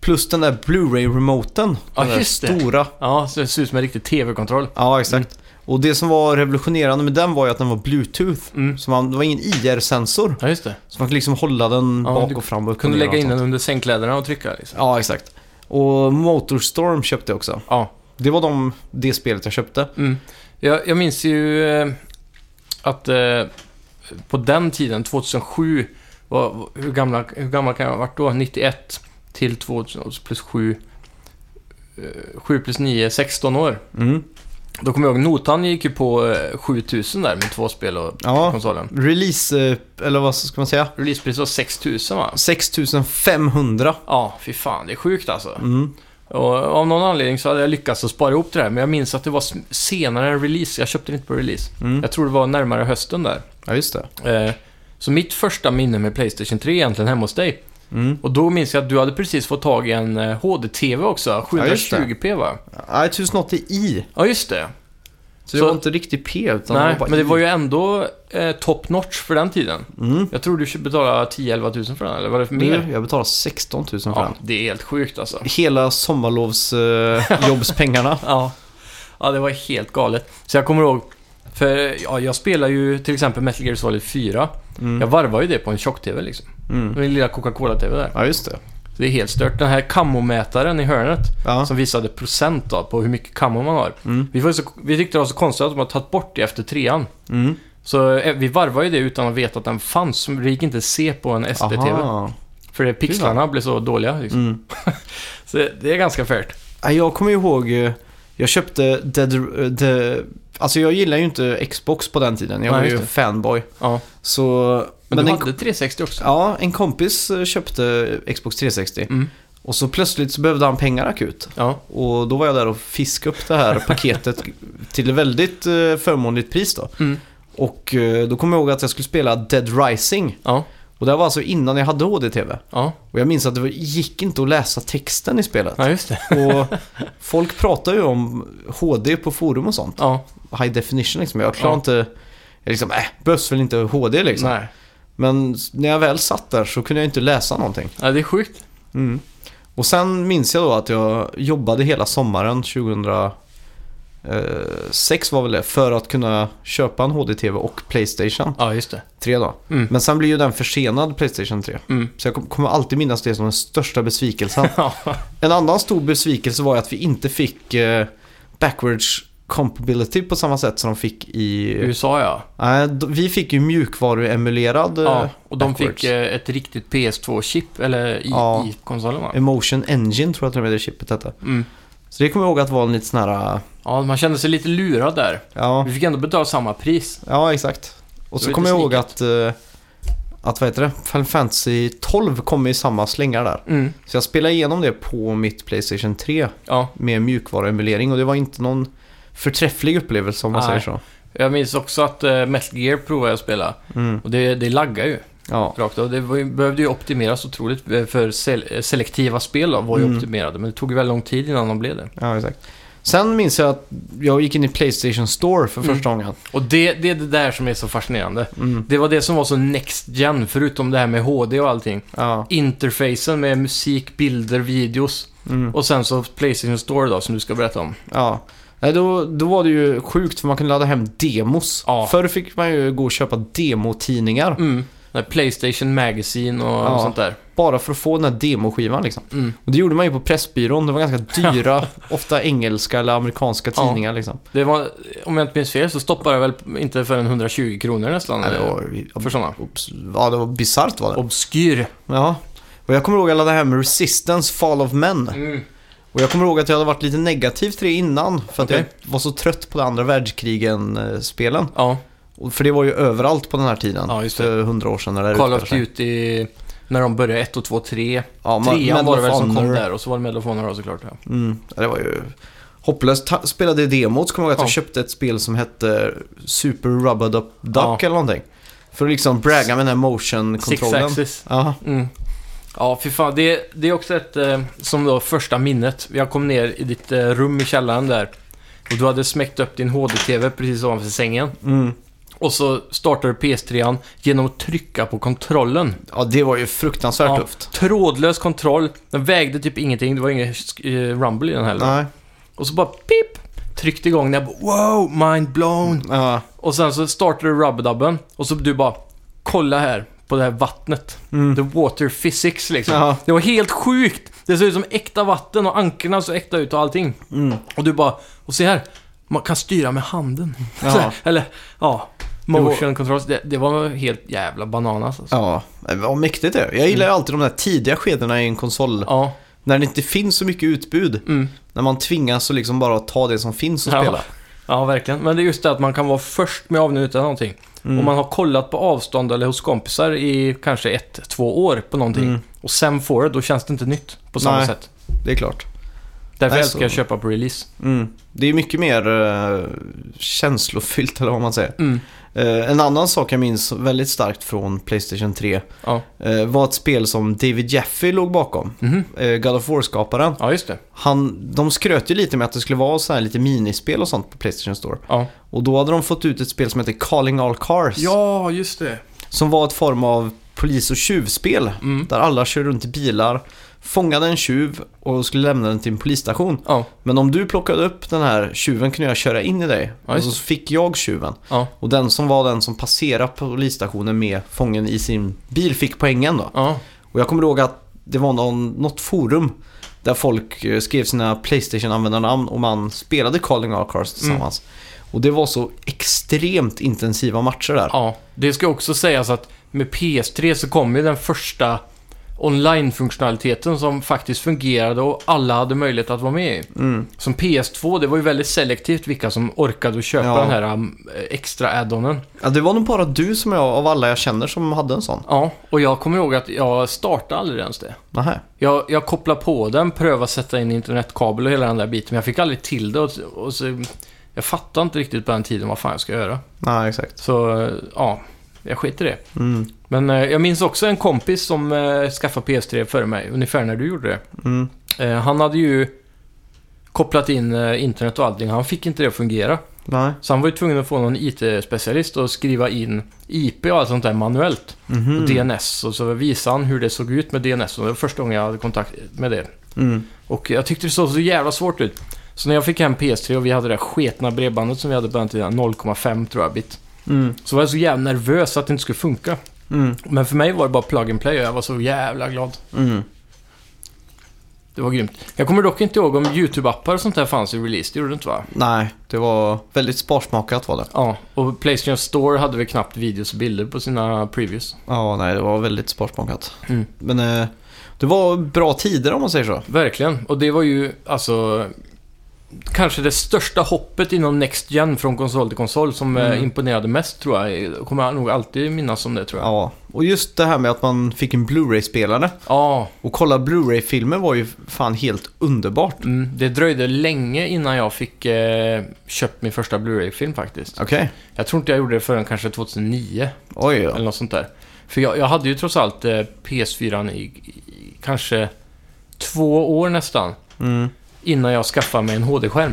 A: plus den där Blu-ray-remoten.
B: Ja,
A: den där
B: just det.
A: stora.
B: Ja, så det ser ut som en riktig TV-kontroll.
A: Ja, exakt. Mm. Och det som var revolutionerande med den var ju att den var Bluetooth.
B: Mm.
A: Så man, det var ingen IR-sensor.
B: Ja, just det.
A: Så man fick liksom hålla den
B: Ja,
A: bak
B: du
A: och fram och upp och
B: Kunde
A: ner
B: lägga
A: och
B: in
A: sånt.
B: den under sängkläderna och trycka liksom.
A: Ja, exakt. Och Motorstorm köpte jag också.
B: Ja.
A: Det var de, det spelet jag köpte.
B: Mm. Jag, jag minns ju eh, att eh, på den tiden, 2007, var, hur, gamla, hur gammal kan jag ha varit då? 91 till 2000 plus 7. 7 eh, plus 9, 16 år.
A: Mm.
B: Då kommer jag ihåg, notan gick ju på eh, 7000 där med två spel och
A: Ja,
B: konsolen.
A: release, eh, eller vad ska man säga?
B: Releasepriset var 6000 va?
A: 6500.
B: Ja, fy fan, det är sjukt alltså.
A: Mm.
B: Och av någon anledning så hade jag lyckats att spara ihop det där, men jag minns att det var s- senare än release. Jag köpte det inte på release.
A: Mm.
B: Jag tror det var närmare hösten där.
A: Ja, just det.
B: Eh, Så mitt första minne med Playstation 3 är egentligen hemma hos dig.
A: Mm.
B: Och då minns jag att du hade precis fått tag i en eh, HD-TV också,
A: Ja, just det.
B: 720p va?
A: Nej, 1080i.
B: Ja, just det.
A: Så, det
B: Så-
A: var inte riktigt P utan
B: Nej,
A: det var bara
B: men det
A: i.
B: var ju ändå eh, top notch för den tiden.
A: Mm.
B: Jag tror du betala 10-11 tusen för den, eller var det för mer?
A: Du, jag betalade 16 000 för
B: Ja,
A: den.
B: det är helt sjukt alltså.
A: Hela eh, sommarlovsjobbspengarna.
B: Ja. ja, det var helt galet. Så jag kommer ihåg, för ja, jag spelar ju till exempel Metal Gear Solid 4.
A: mm.
B: Jag varvar ju det på en tjock-TV liksom.
A: Mm.
B: Min lilla Coca-Cola-TV där.
A: Ja, just det.
B: Det är helt stört. Den här kammomätaren i hörnet
A: Ja.
B: som visade procent då, på hur mycket kammo man har.
A: Mm.
B: Vi, var så, vi tyckte det var så konstigt att de har tagit bort det efter trean.
A: Mm.
B: Så eh, vi varvade ju det utan att veta att den fanns. Det gick inte att se på en SD-TV.
A: Aha.
B: För det- pixlarna blev så dåliga. Liksom.
A: Mm.
B: Så det- det är ganska fairt.
A: Ja, Jag kommer ju ihåg, eh, jag köpte Dead... eh, The, alltså jag gillar ju inte Xbox på den tiden, jag
B: Nej,
A: var
B: just
A: ju typ
B: det.
A: fanboy.
B: Ja.
A: Så...
B: Men,
A: men
B: du
A: en,
B: hade 360 också?
A: Ja, en kompis eh, köpte Xbox 360
B: Mm.
A: och så plötsligt så behövde han pengar akut.
B: Ja.
A: Och då var jag där och fiskade upp det här paketet till ett väldigt eh, förmånligt pris då.
B: Mm.
A: Och eh, då kommer jag ihåg att jag skulle spela Dead Rising.
B: Ja.
A: Och det här var alltså innan jag hade HDTV.
B: Ja.
A: Och jag minns att det var- gick inte att läsa texten i spelet.
B: ja, just det.
A: Och folk pratar ju om HD på forum och sånt.
B: Ja.
A: High definition liksom. Jag klarar
B: Ja.
A: inte... Jag liksom, äh, behövs väl inte HD liksom.
B: Nej.
A: Men s- när jag väl satt där så kunde jag inte läsa någonting.
B: Ja, det är sjukt. Mm.
A: Och sen minns jag då att jag jobbade hela sommaren 2006 var väl det, för att kunna köpa en HD-TV och Playstation
B: Ja, just det.
A: 3 då.
B: Mm.
A: Men sen blir ju den försenad Playstation 3.
B: Mm.
A: Så jag kom- kommer alltid minnas det som den största besvikelsen.
B: Ja.
A: En annan stor besvikelse var ju att vi inte fick eh, backwards compatibility på samma sätt som de fick i...
B: USA ja.
A: Nej, d- vi fick ju mjukvaruemulerad eh,
B: ja. Och de
A: backwards.
B: fick eh, ett riktigt PS2-chip, eller i,
A: Ja.
B: i konsolen va?
A: Emotion Engine tror jag till och med det chipet hette.
B: Mm.
A: Så det kommer jag ihåg att vara en lite sån här... eh,
B: Ja, man kände sig lite lurad där.
A: Ja,
B: Vi fick ändå betala samma pris.
A: ja exakt. Och
B: Det
A: så
B: var
A: kommer jag
B: lite
A: ihåg att... eh, Att vad heter det? Final Fantasy 12 kom i samma slängar där.
B: Mm.
A: Så jag spelade igenom det på mitt Playstation 3
B: Ja.
A: med mjukvaruemulering och det var inte någon förträfflig upplevelse om man
B: Nej.
A: säger så.
B: Jag minns också att eh, Metal Gear provade jag att spela.
A: Mm.
B: Och det, det laggar ju
A: Ja.
B: rakt av. Det var, ju- behövde ju optimeras otroligt. eh, För sel eh, selektiva spel då, var ju
A: Mm.
B: optimerade. Men det tog ju väldigt lång tid innan de blev det.
A: Ja, exakt. Sen minns jag att jag gick in i Playstation Store för
B: Mm.
A: första gången.
B: Och det, det är det där som är så fascinerande.
A: Mm.
B: Det var det som var så next gen, förutom det här med HD och allting.
A: Ja.
B: Interfacen med musik, bilder, videos.
A: Mm.
B: Och sen så Playstation Store då, som du ska berätta om.
A: ja. Nej, då, då var det ju sjukt för man kunde ladda hem demos.
B: Ja.
A: Förr fick man ju gå och köpa demotidningar.
B: Mm. Det här Playstation Magazine och
A: Ja.
B: sånt där.
A: Bara för att få den här demoskivan liksom.
B: Mm.
A: Och det gjorde man ju på Pressbyrån. Det var ganska dyra, ofta engelska eller amerikanska
B: Ja.
A: tidningar liksom.
B: Det var, om jag inte minns fel, så stoppade jag väl inte förrän 120 kronor nästan.
A: Nej, det
B: eller-
A: var,
B: För sådana.
A: ja, det var bisarrt var det.
B: Obskyr.
A: Ja. Och jag kommer ihåg att jag laddade hem Resistance Fall of Men.
B: Mm.
A: Och jag kommer ihåg att jag hade varit lite negativ till det innan för att
B: Okej.
A: jag var så trött på det andra världskrigen-spelen.
B: Ja,
A: För det var ju överallt på den här tiden.
B: Ja, just det.
A: För hundra år sedan eller
B: Call
A: ute
B: of
A: kanske.
B: Duty när de började 1 och 2, 3.
A: Ja, man,
B: Trean
A: Medal
B: var det
A: of
B: väl som kom
A: Honor.
B: där och så var det Medal of Honor då, såklart. Ja.
A: Mm, ja, det var ju hopplöst. Ta- Spelade i demot, kommer jag ihåg att
B: Ja.
A: jag köpte ett spel som hette Super Rubbed Up Duck
B: Ja.
A: eller någonting. För att liksom bragga med den här motion-kontrollen.
B: Six-axis.
A: Ja,
B: Mm. Ja, fy fan. Det, det är också ett, eh, som då, första minnet. Jag kom ner i ditt eh, rum i källaren där. Och du hade smäckt upp din HD-TV precis ovanför sängen.
A: mm.
B: Och så startade du PS3 genom att trycka på kontrollen.
A: ja, det var ju fruktansvärt
B: Ja.
A: tufft.
B: Trådlös kontroll. Den vägde typ ingenting. Det var ingen eh, rumble i den heller.
A: Nej,
B: Och så bara pip! Tryckte igång den. Jag bara, wow, mind blown!
A: ja.
B: Och sen så startade du rubberdubben och så du bara kolla här på det här vattnet.
A: Mm.
B: The water physics liksom.
A: Ja.
B: Det var helt sjukt! Det såg ut som äkta vatten och ankorna såg äkta ut och allting.
A: Mm.
B: Och du bara, och se här, man kan styra med handen.
A: Ja.
B: Så här, Eller, ja.
A: var-
B: Motion controls, det, det var helt jävla bananas alltså.
A: Ja, men vad mäktigt det är. Jag gillar ju alltid de där tidiga skedena i en konsol.
B: Ja,
A: När det inte finns så mycket utbud.
B: mm.
A: När man tvingas att liksom bara ta det som finns och
B: Ja.
A: spela.
B: ja, verkligen. Men det är just det att man kan vara först med avnjuta någonting.
A: Mm.
B: Om man har kollat på avstånd eller hos kompisar i kanske ett, två år på någonting
A: Mm.
B: och sen får det, då känns det inte nytt på samma
A: Nej.
B: sätt.
A: Det är klart.
B: Därför
A: Nej,
B: älskar
A: så-
B: jag att köpa på release.
A: Mm. Det är mycket mer eh, känslofyllt eller vad man säger.
B: Mm.
A: Eh, en annan sak jag minns väldigt starkt från Playstation 3
B: Ja.
A: eh, var ett spel som David Jaffe låg bakom.
B: Mhm.
A: Eh, God of War-skaparen.
B: ja, just det.
A: Han, de skröt ju lite med att det skulle vara så här lite minispel och sånt på Playstation Store.
B: Ja.
A: Och då hade de fått ut ett spel som heter Calling All Cars.
B: ja, just det.
A: Som var ett form av polis och tjuvspel.
B: Mm.
A: Där alla kör runt i bilar, fångade en tjuv och skulle lämna den till en polisstation.
B: Ja,
A: Men om du plockade upp den här tjuven kunde jag köra in i dig.
B: Ja,
A: och
B: just
A: så fick jag tjuven.
B: ja,
A: Och den som var den som passerade polisstationen med fången i sin bil fick poängen då.
B: ja.
A: Och jag kommer ihåg att det var någon, något forum där folk eh, skrev sina Playstation-användarnamn och man spelade Calling All
B: Mm.
A: Cars tillsammans. Och det var så extremt intensiva matcher där.
B: Ja, det ska också sägas att med PS3 så kom ju den första online-funktionaliteten som faktiskt fungerade och alla hade möjlighet att vara med i.
A: Mm.
B: Som PS2, det var ju väldigt selektivt vilka som orkade att köpa
A: Ja.
B: den här um, extra addonen.
A: Ja, det var nog bara du som jag, av alla jag känner, som hade en sån.
B: Ja, och jag kommer ihåg att jag startade aldrig ens det.
A: Nähä.
B: Jag, jag kopplade på den, prövade sätta in internetkabel och hela den där biten, men jag fick aldrig till det. Och, och så, jag fattade inte riktigt på den tiden vad fan jag ska göra.
A: Nej, exakt.
B: Så, eh, ja, jag skiter i det.
A: Mm.
B: Men eh, jag minns också en kompis som eh, skaffade PS3 före mig, ungefär när du gjorde det.
A: Mm.
B: Eh, han hade ju kopplat in eh, internet och allting. Han fick inte det att fungera.
A: Nej.
B: Så han var ju tvungen att få någon IT-specialist och skriva in IP och allt sånt där manuellt.
A: Mhm.
B: Och DNS. Och så visade han hur det såg ut med DNS. Och det var första gången jag hade kontakt med det.
A: Mm.
B: Och jag tyckte det såg så jävla svårt ut. Så när jag fick hem PS3 och vi hade det där sketna bredbandet som vi hade på den tiden, 0,5 tror jag bit.
A: Mm.
B: Så var jag så jävla nervös att det inte skulle funka.
A: Mm.
B: Men för mig var det bara plug and play och jag var så jävla glad.
A: Mm.
B: Det var grymt. Jag kommer dock inte ihåg om YouTube-appar och sånt där fanns i release. Det gjorde det inte va?
A: Nej, det var väldigt sparsmakat var det.
B: Ja, och Playstation Store hade väl knappt videos och bilder på sina previews.
A: Ja, nej, det var väldigt sparsmakat.
B: Mm.
A: Men eh, det var bra tider om man säger så.
B: Verkligen. Och det var ju alltså kanske det största hoppet inom Next Gen från konsol till konsol som eh,
A: Mm.
B: imponerade mest tror jag. Det Kommer jag nog alltid minnas som det tror jag.
A: Ja, och just det här med att man fick en Blu-ray-spelare
B: Ja,
A: och kolla Blu-ray-filmer var ju fan helt underbart.
B: mm, det dröjde länge innan jag fick eh, köpt min första Blu-ray-film faktiskt.
A: Okej,
B: Jag tror inte jag gjorde det förrän kanske 2009.
A: oj då.
B: Eller något sånt där. För jag, jag hade ju trots allt eh, PS4 i, i kanske två år nästan.
A: Mm.
B: Innan jag skaffade mig en HD-skärm.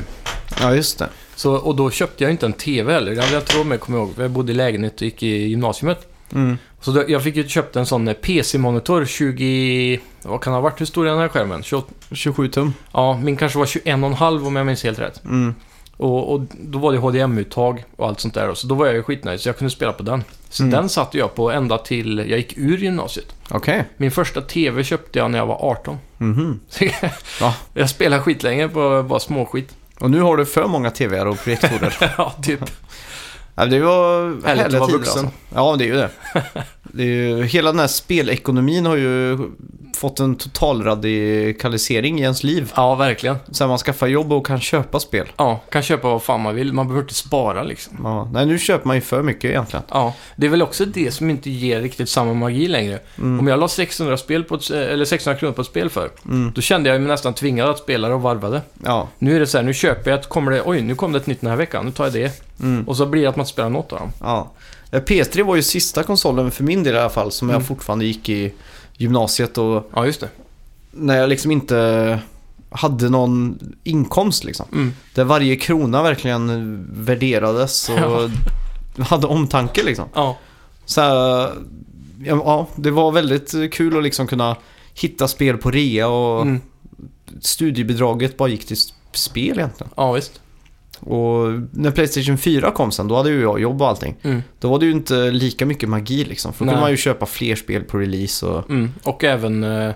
A: Ja, just det.
B: Så, och då köpte jag inte en TV heller. Det hade jag inte råd med, kommer jag ihåg. Jag bodde i lägenhet och gick i gymnasiet.
A: Mm.
B: Så då, jag fick ju köpt en sån eh, PC-monitor, 20... Vad kan det ha varit? Hur stor är den här skärmen? 28,
A: 27 tum.
B: ja, min kanske var 21,5 om jag minns helt rätt.
A: Mm.
B: Och, och då var det HDMI-uttag och allt sånt där. Så då var jag ju skitnöjd, så jag kunde spela på den. Så
A: Mm.
B: den satte jag på ända till jag gick ur gymnasiet.
A: Okej.
B: Min första TV köpte jag när jag var 18.
A: Mhm. Va?
B: jag spelade skitlänge på bara småskit.
A: Och nu har du för många TVR och projektorer.
B: ja, typ.
A: Ja, det var härliga
B: att vara
A: tider,
B: vuxen.
A: Alltså. Ja, det är ju det. det är ju, hela den här spelekonomin har ju fått en total radikalisering i ens liv.
B: Ja, verkligen.
A: Sen man skaffar jobb och kan köpa spel.
B: Ja, kan köpa vad fan man vill. Man behöver inte spara liksom.
A: Ja, nej, nu köper man ju för mycket egentligen.
B: Ja, det är väl också det som inte ger riktigt samma magi längre.
A: Mm.
B: Om jag la 600, spel på ett, eller 600 kronor på ett spel för,
A: Mm.
B: då kände jag mig nästan tvingad att spela det och varva det.
A: Ja,
B: Nu är det så här, nu köper jag ett, kommer det, oj, nu kom det ett nytt den här veckan, nu tar jag det.
A: mm.
B: Och så blir det att man inte spelar något av dem.
A: ja. Eh, PS3 var ju sista konsolen för min del i alla fall som
B: Mm.
A: jag fortfarande gick i gymnasiet och
B: Ja, just det.
A: när jag liksom inte hade någon inkomst liksom.
B: Mm.
A: Där varje krona verkligen värderades och hade omtanke liksom.
B: Ja,
A: Så här, ja, ja, det var väldigt kul att liksom kunna hitta spel på rea och
B: mm.
A: studiebidraget bara gick till sp- spel egentligen.
B: ja visst.
A: Och när Playstation 4 kom sen, då hade ju jag jobb och allting.
B: Mm.
A: Då var det ju inte lika mycket magi liksom. För då kunde
B: Nej.
A: man ju köpa fler spel på release och...
B: Mm. Och även eh,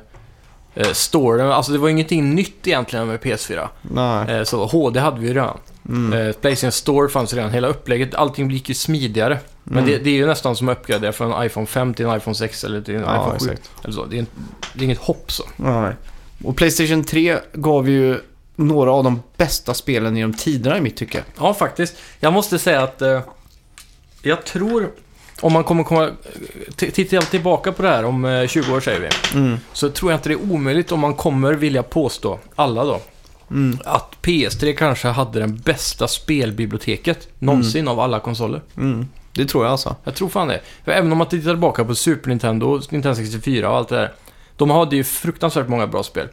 B: eh, storyn. Alltså det var ingenting nytt egentligen med PS4.
A: Nej.
B: Eh, så HD hade vi ju redan.
A: Mm.
B: Eh, Playstation Store fanns redan. Hela upplägget, allting gick ju smidigare.
A: Mm.
B: Men det, det är ju nästan som att uppgradera från iPhone 5 till en iPhone 6 eller till en
A: Ja,
B: iPhone 7.
A: exakt.
B: Eller så. Det, är inte- det är inget hopp så.
A: Nej. Och Playstation 3 gav ju några av de bästa spelen genom tiderna i mitt tycke.
B: Ja, faktiskt. Jag måste säga att eh, jag tror, om man kommer komma... t- Tittar jag tillbaka på det här om eh, 20 år säger vi.
A: Mm.
B: så tror jag inte det är omöjligt om man kommer vilja påstå, alla då, att PS3 kanske hade den bästa spelbiblioteket någonsin av alla konsoler.
A: Mm. Det tror jag alltså.
B: Jag tror fan det. För även om man tittar tillbaka på Super Nintendo, Nintendo 64 och allt det där. De hade ju fruktansvärt många bra spel.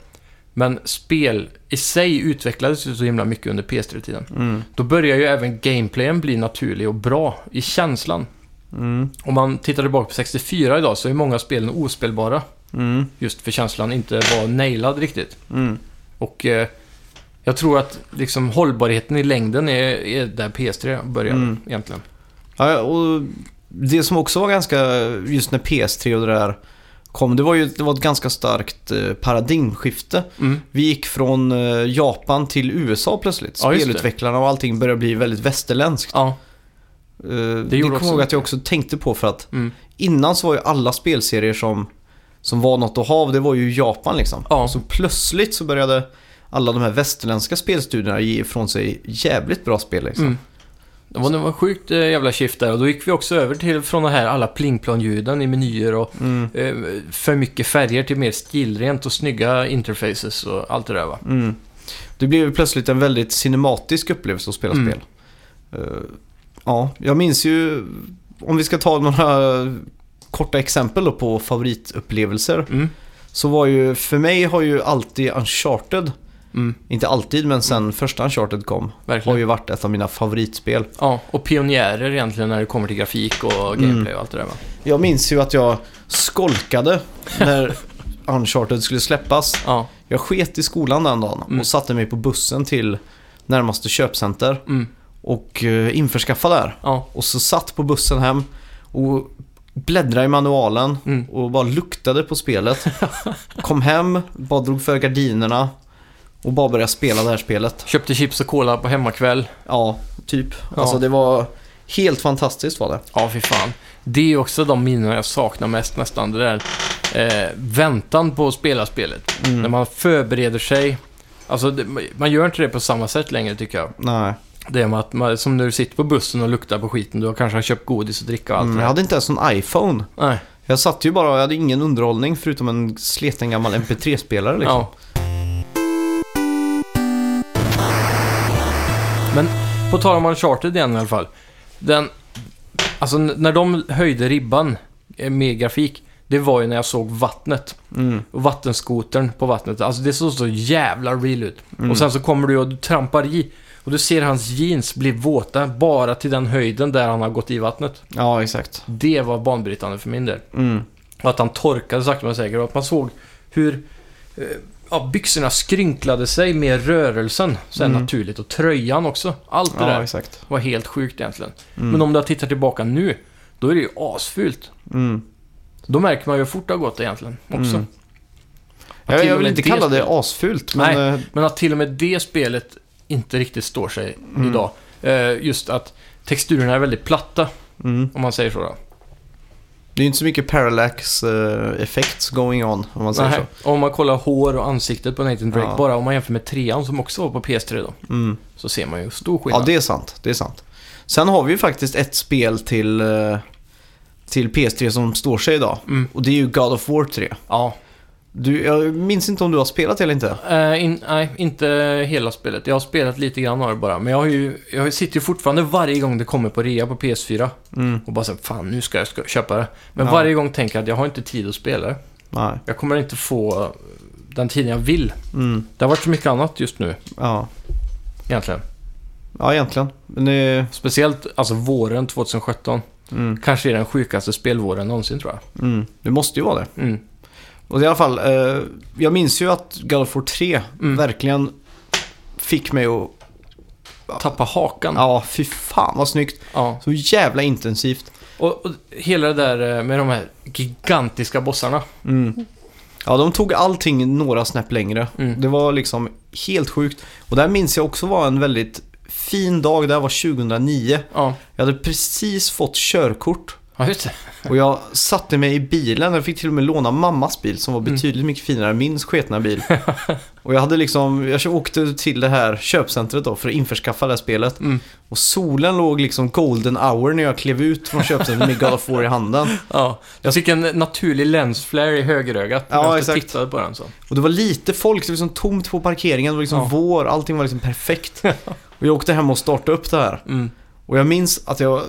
B: Men spel i sig utvecklades ju så himla mycket under PS3-tiden.
A: Mm.
B: Då börjar ju även gameplayen bli naturlig och bra i känslan.
A: Mm.
B: Om man tittar tillbaka på 64 idag så är många spelen ospelbara.
A: Mm.
B: Just för känslan inte var nailad riktigt.
A: Mm.
B: Och eh, jag tror att liksom hållbarheten i längden är, är där PS3 börjar
A: Mm.
B: egentligen.
A: Ja, och det som också var ganska, just när PS3 och det där kom. Det var ju det var ett ganska starkt eh, paradigmskifte.
B: Mm.
A: Vi gick från eh, Japan till USA plötsligt.
B: Ja, just det.
A: Spelutvecklarna och allting började bli väldigt västerländskt.
B: Ja,
A: Eh, det
B: gjorde
A: kommer jag ihåg
B: också
A: att
B: mycket.
A: jag också tänkte på för att
B: mm.
A: innan så var ju alla spelserier som, som var något att ha, det var ju Japan liksom.
B: ja.
A: Så plötsligt så började alla de här västerländska spelstudierna ge ifrån sig jävligt bra spel liksom.
B: Mm. Det var, det var sjukt eh, jävla shift där och då gick vi också över till från de här alla plingplong-ljuden i menyer och
A: Mm.
B: eh, för mycket färger till mer stilrent och snygga interfaces och allt det där va.
A: Mm. Det blev ju plötsligt en väldigt cinematisk upplevelse att spela
B: Mm.
A: spel. Eh, ja, jag minns ju, om vi ska ta några korta exempel då på favoritupplevelser.
B: Mm.
A: Så var ju, för mig har ju alltid Uncharted,
B: Mm.
A: inte alltid men sen första Uncharted kom, har
B: Verkligen.
A: ju varit ett av mina favoritspel.
B: Ja, och pionjärer egentligen när det kommer till grafik och gameplay och allt det där va.
A: Jag minns ju att jag skolkade när Uncharted skulle släppas.
B: Ja,
A: Jag sket i skolan den dagen
B: Mm.
A: och satte mig på bussen till närmaste köpcenter
B: mm.
A: och eh, införskaffade där.
B: ja,
A: Och så satt på bussen hem och bläddrade i manualen
B: Mm.
A: och bara luktade på spelet. Kom hem, bara drog för gardinerna och bara började spela det här spelet.
B: Köpte chips och cola på hemmakväll.
A: Ja, typ.
B: Ja.
A: Alltså det var helt fantastiskt var det.
B: Ja, fy fan. Det är också de minnen jag saknar mest nästan. Det där eh, väntan på att spela spelet. När man förbereder sig. Alltså, det, man gör inte det på samma sätt längre tycker jag.
A: Nej,
B: Det är med att man, som när du sitter på bussen och luktar på skiten. Du har kanske har köpt godis och dricka och allt
A: mm,
B: det
A: jag
B: där.
A: hade inte ens en iPhone.
B: Nej,
A: Jag satt ju bara, jag hade ingen underhållning förutom en sleten gammal MP3-spelare liksom.
B: ja. Men på tal om Uncharted igen i alla fall. Den, alltså n- när de höjde ribban eh, med grafik. Det var ju när jag såg vattnet.
A: Mm.
B: och vattenskotern på vattnet. Alltså det såg så jävla real ut. Och sen så kommer du och du trampar i och du ser hans jeans bli våta bara till den höjden där han har gått i vattnet.
A: Ja, exakt.
B: Det var banbrytande för min del.
A: Mm.
B: Och att han torkade sakta men säkert och att man såg hur eh, ja, byxorna skrynklade sig med rörelsen så här
A: Mm.
B: naturligt och tröjan också. Allt det
A: Ja, Mm.
B: där
A: exakt.
B: var helt sjukt egentligen. Men om du tittar tillbaka nu, då är det ju asfult.
A: Mm.
B: Då märker man ju hur fort det har gått egentligen också.
A: Mm.
B: Att
A: Jag,
B: till
A: jag
B: och
A: vill
B: med
A: inte kalla
B: spelet-
A: det asfult, men...
B: Nej.
A: eh,
B: Men att till och med det spelet inte riktigt står sig
A: Mm.
B: idag. Eh, just att texturerna är väldigt platta,
A: Mm.
B: om man säger så. Då.
A: Det är ju inte så mycket parallax eh, effects going on, om man säger
B: Nej, Om man kollar hår och ansiktet på Nathan Drake,
A: Ja.
B: bara om man jämför med trean som också var på PS3 då,
A: så. Mm.
B: så ser man ju stor skillnad.
A: Ja, det är sant. Det är sant. Sen har vi ju faktiskt ett spel till, eh, till PS3 som står sig idag.
B: Mm.
A: Och det är ju God of War 3.
B: Ja.
A: Du, jag minns inte om du har spelat det eller inte.
B: Eh, in, nej, inte hela spelet. Jag har spelat lite grann av det bara. Men jag, har ju, jag sitter ju fortfarande varje gång det kommer på rea på PS4
A: Mm.
B: och bara så här, fan nu ska jag ska köpa det. Men
A: Ja.
B: varje gång tänker jag att jag har inte tid att spela det.
A: Nej.
B: Jag kommer inte få den tiden jag vill.
A: Mm.
B: Det har varit så mycket annat just nu
A: Ja.
B: egentligen.
A: ja, egentligen. Men det...
B: Speciellt alltså våren 2017.
A: Mm.
B: Kanske är den sjukaste spelvåren någonsin tror jag.
A: Mm. Det måste ju vara det.
B: Mm.
A: Och i alla fall, eh, jag minns ju att God of War 3
B: Mm.
A: verkligen fick mig att...
B: Tappa hakan. Ja.
A: Ja, fy fan vad snyggt. Så jävla intensivt.
B: Och, och hela det där eh, med de här gigantiska bossarna.
A: Mm. Ja, de tog allting några snäpp längre.
B: Mm.
A: Det var liksom helt sjukt. Och där minns jag också var en väldigt fin dag. Det här var 2009.
B: Ja,
A: Jag hade precis fått körkort.
B: ja just det.
A: Och jag satte mig i bilen. Jag fick till och med låna mammas bil som var
B: Mm.
A: betydligt mycket finare än min sketna bil. och jag hade liksom, jag åkte till det här köpcentret då för att införskaffa det här spelet.
B: Mm.
A: Och solen låg liksom golden hour när jag klev ut från köpcentret med God of War i handen.
B: Ja. Jag fick en naturlig lensflare i högerögat
A: Ja,
B: när jag stod och
A: exakt.
B: tittade på den. Så.
A: Och det var lite folk, det var liksom tomt på parkeringen, det var liksom
B: Ja.
A: vår, allting var liksom perfekt. och jag åkte hem och startade upp det här.
B: Mm.
A: Och jag minns att jag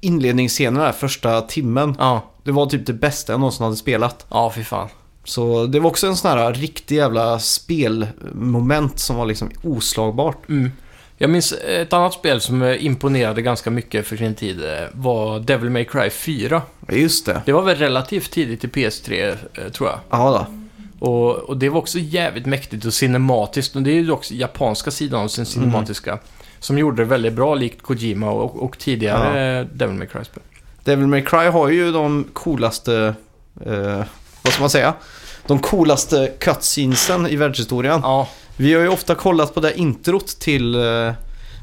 A: inledningsscenen, den här första timmen,
B: Ja.
A: det var typ det bästa jag någonsin hade spelat.
B: ja, fy fan.
A: Så det var också en sån här riktig jävla spelmoment som var liksom oslagbart.
B: Mm. Jag minns ett annat spel som eh, imponerade ganska mycket för sin tid eh, var Devil May Cry 4.
A: Ja, just det.
B: Det var väl relativt tidigt i PS3 eh, tror jag.
A: Ja då.
B: Och, och det var också jävligt mäktigt och cinematiskt. Och det är ju också japanska sidan av
A: Mhm.
B: sin cinematiska. Som gjorde det väldigt bra, likt Kojima och, och tidigare eh, Devil May Cry spel.
A: Devil May Cry har ju de coolaste eh, vad ska man säga, de coolaste cutscenesen i världshistorien.
B: Ja,
A: Vi har ju ofta kollat på det här introt till eh,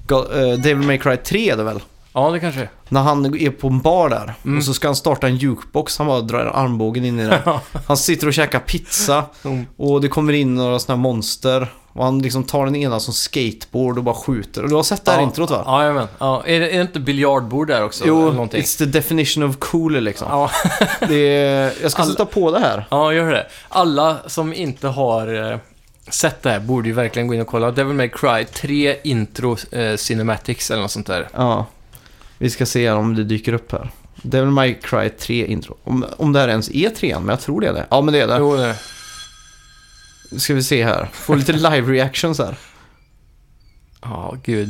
A: Go- eh, Devil May Cry 3 är det väl?
B: ja det kanske är.
A: När han är på en bar där
B: Mm.
A: och så ska han starta en jukebox. Han bara drar armbågen in i den. Han sitter och käkar pizza
B: Mm.
A: och det kommer in några sådana här monster. Och han liksom tar den ena som skateboard och bara skjuter. Och du har sett det här
B: Ja.
A: introt va?
B: Ja, jajamän. Ja, är, det, är det inte biljardbord där också?
A: jo,
B: eller någonting?
A: it's the definition of cool liksom.
B: Ja,
A: Det är, jag ska
B: Alla-
A: sätta på det här.
B: ja, gör det. Alla som inte har eh, sett det här borde ju verkligen gå in och kolla. Devil May Cry 3 Intro eh, Cinematics eller något sånt där.
A: Ja, vi ska se om det dyker upp här. Devil May Cry 3 intro. Om, om det här ens är 3 men jag tror det är det. Ja, men det är det.
B: Jo, det.
A: Ska vi se här. Få lite live reactions här.
B: Ja, gud.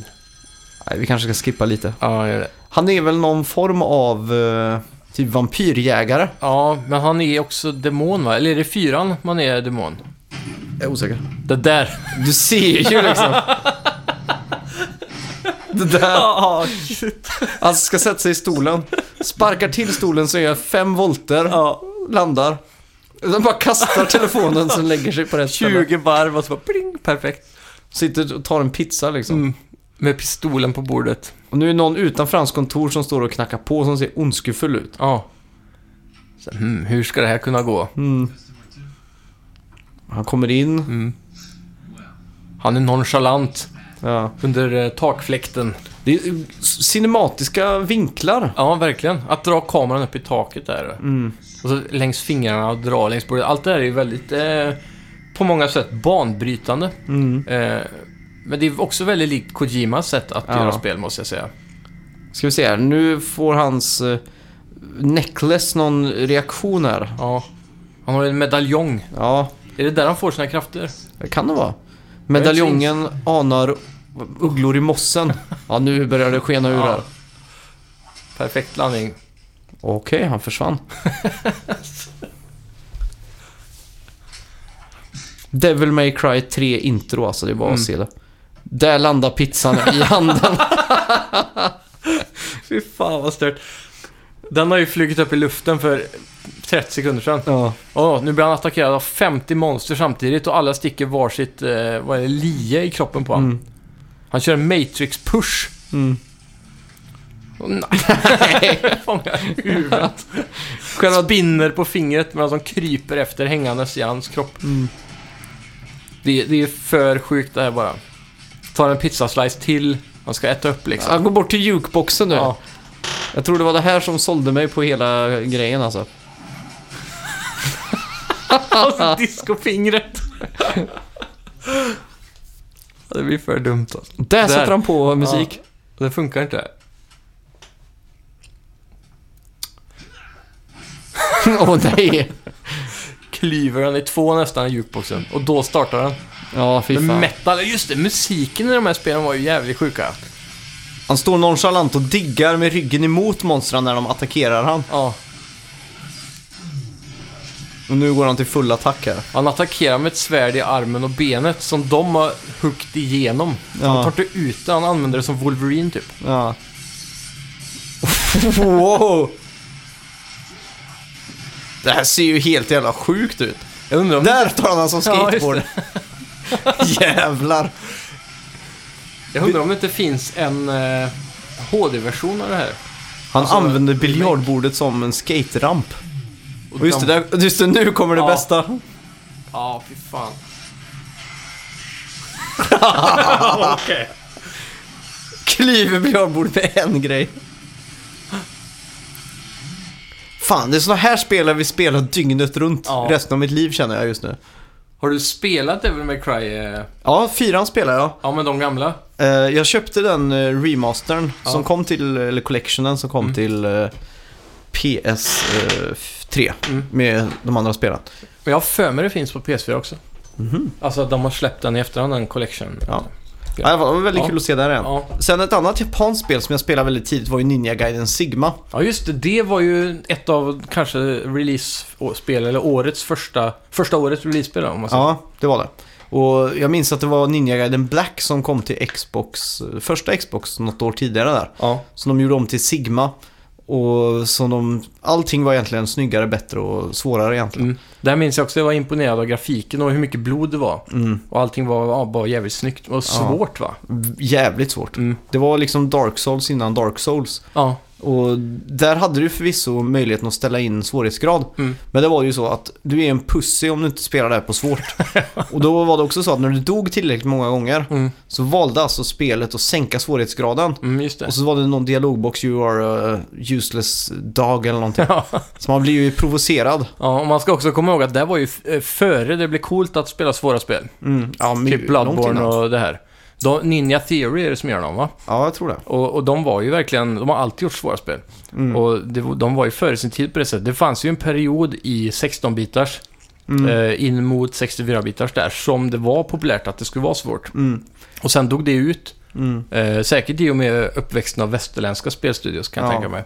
A: Nej, vi kanske ska skippa lite.
B: Ja, gör det.
A: Han är väl någon form av eh, typ vampyrjägare?
B: Ja, men han är också demon va? Eller är det fyran man är demon?
A: Jag är osäker.
B: Det där.
A: Du ser ju liksom. Det där.
B: Ja,
A: Han ska sätta sig i stolen. Sparkar till stolen som gör fem volter. Landar. Den bara kastar telefonen som lägger sig på rätt ställe.
B: 20 varv och så bara pling, perfekt.
A: Sitter och tar en pizza liksom.
B: Mm. Med pistolen på bordet.
A: Och nu är det någon utanför hans kontor som står och knackar på som ser ondskefull ut.
B: Ja. Så, hmm, hur ska det här kunna gå?
A: Mm. Han kommer in.
B: Mm. Han är nonchalant
A: Ja.
B: under eh, takfläkten.
A: Det är eh, cinematiska vinklar.
B: Ja, verkligen. Att dra kameran upp i taket där. Och så längs fingrarna och dra längs bordet. Allt det här är ju väldigt, eh, på många sätt, banbrytande. Eh, men det är också väldigt likt Kojimas sätt att
A: Ja.
B: göra spel, måste jag säga.
A: Ska vi se här. Nu får hans eh, necklace någon reaktion här.
B: Ja. Han har en medaljong.
A: Ja,
B: Är det där han får sina krafter?
A: det kan det vara. Medaljongen anar ugglor i mossen. Ja, nu börjar det skena ur
B: Ja.
A: här.
B: Perfekt landning.
A: Okej, han försvann. Devil May Cry 3 intro alltså, det är bara att
B: Mm.
A: se det. Där landar pizzan i handen.
B: Fy fan vad stört. Den har ju flugit upp i luften för 30 sekunder sedan.
A: ja.
B: Åh, nu blir han attackerad av 50 monster samtidigt och alla sticker varsitt eh, vad är det, lie i kroppen på honom.
A: Mm.
B: Han kör en Matrix-push.
A: Mm.
B: Åh, nej, fångar huvudet. Själva spinner på fingret medan de kryper efter hängandes i hans kropp.
A: Mm.
B: Det, det är för sjukt det här bara. Tar en pizzaslice till, han ska äta upp liksom.
A: Han går bort till jukeboxen nu.
B: Ja,
A: Jag tror det var det här som sålde mig på hela grejen alltså.
B: alltså discofingret. det blir för dumt alltså.
A: Där, sätter han på musik.
B: Det funkar inte.
A: Åh nej.
B: klyver den i två nästan i jukeboxen och då startar den.
A: Ja, fy
B: Men
A: fan.
B: metal, just det, musiken i de här spelen var ju jävligt sjuka.
A: Han står nonchalant och diggar med ryggen emot monstren när de attackerar han.
B: Ja,
A: Och nu går han till full attack här.
B: han attackerar med ett svärd i armen och benet som de har huggit igenom. Han
A: Ja.
B: tar inte ut det, han använder det som Wolverine typ.
A: ja. wow! Det här ser ju helt jävla sjukt ut.
B: Jag undrar om...
A: Där tar han alltså
B: Ja, just
A: skateboard. Jävlar.
B: Jag undrar om det inte finns en eh, HD-version av det här.
A: Han
B: Alltså,
A: använder biljardbordet som en skateramp.
B: Och
A: Och just det,
B: de-
A: där, just det, nu kommer det
B: Ja.
A: bästa.
B: Ja, fy fan. Okej.
A: Klyver biljardbordet med en grej. Fan, det är såna här spel jag vill spela dygnet runt
B: Ja.
A: resten av mitt liv känner jag just nu.
B: Har du spelat Devil May Cry? eh,
A: Ja, fyran spelar jag.
B: Ja, men de gamla?
A: Eh, jag köpte den eh, remastern
B: Ja. Mm.
A: som kom till, eller collectionen som kom till eh, PS3
B: Mm.
A: med de andra spelen.
B: Men jag har för mig det finns på PS4 också. Alltså att de har släppt den i efterhand, den collection.
A: Ja. Ja, det var väldigt
B: Ja.
A: kul att se där igen.
B: Ja.
A: Sen ett annat japanskt spel som jag spelade väldigt tidigt var ju Ninja Gaiden Sigma.
B: ja, just det. Det var ju ett av kanske release-spel, eller årets första, första årets release-spel om man säger.
A: Ja, det var det. Och jag minns att det var Ninja Gaiden Black som kom till Xbox, första Xbox något år tidigare där.
B: Ja.
A: Som de gjorde om till Sigma. Och som de, allting var egentligen snyggare, bättre och svårare egentligen.
B: Mm. Där minns jag också att jag var imponerad av grafiken och hur mycket blod det var.
A: Mm.
B: Och allting var ja, bara jävligt snyggt. Och svårt va?
A: Jävligt svårt.
B: Mm.
A: Det var liksom Dark Souls innan Dark Souls.
B: Ja.
A: Och där hade du förvisso möjligheten att ställa in svårighetsgrad.
B: Mm.
A: Men det var ju så att du är en pussy om du inte spelar det här på svårt. och då var det också så att när du dog tillräckligt många gånger
B: Mm.
A: så valde alltså spelet att sänka svårighetsgraden.
B: Mm, just det.
A: Och så var det någon dialogbox, you are a useless dog eller någonting.
B: Ja.
A: Så man blir ju provocerad.
B: ja, och man ska också komma ihåg att det var ju f- eh, före det blev coolt att spela svåra spel.
A: Mm. Ja, men
B: Typ
A: långt
B: Bloodborne
A: innan.
B: och det här. De, Ninja Theory är det som gör dem va?
A: Ja, jag tror det.
B: Och, och de var ju verkligen, de har alltid gjort svåra spel.
A: Mm.
B: Och det, var- de var ju före sin tid på det sättet. Det fanns ju en period i 16-bitars,
A: Mm.
B: eh, in mot 64-bitars där, som det var populärt att det skulle vara svårt.
A: Mm.
B: Och sen dog det ut.
A: Mm.
B: Eh, säkert i och med uppväxten av västerländska spelstudios kan jag
A: Ja.
B: tänka mig.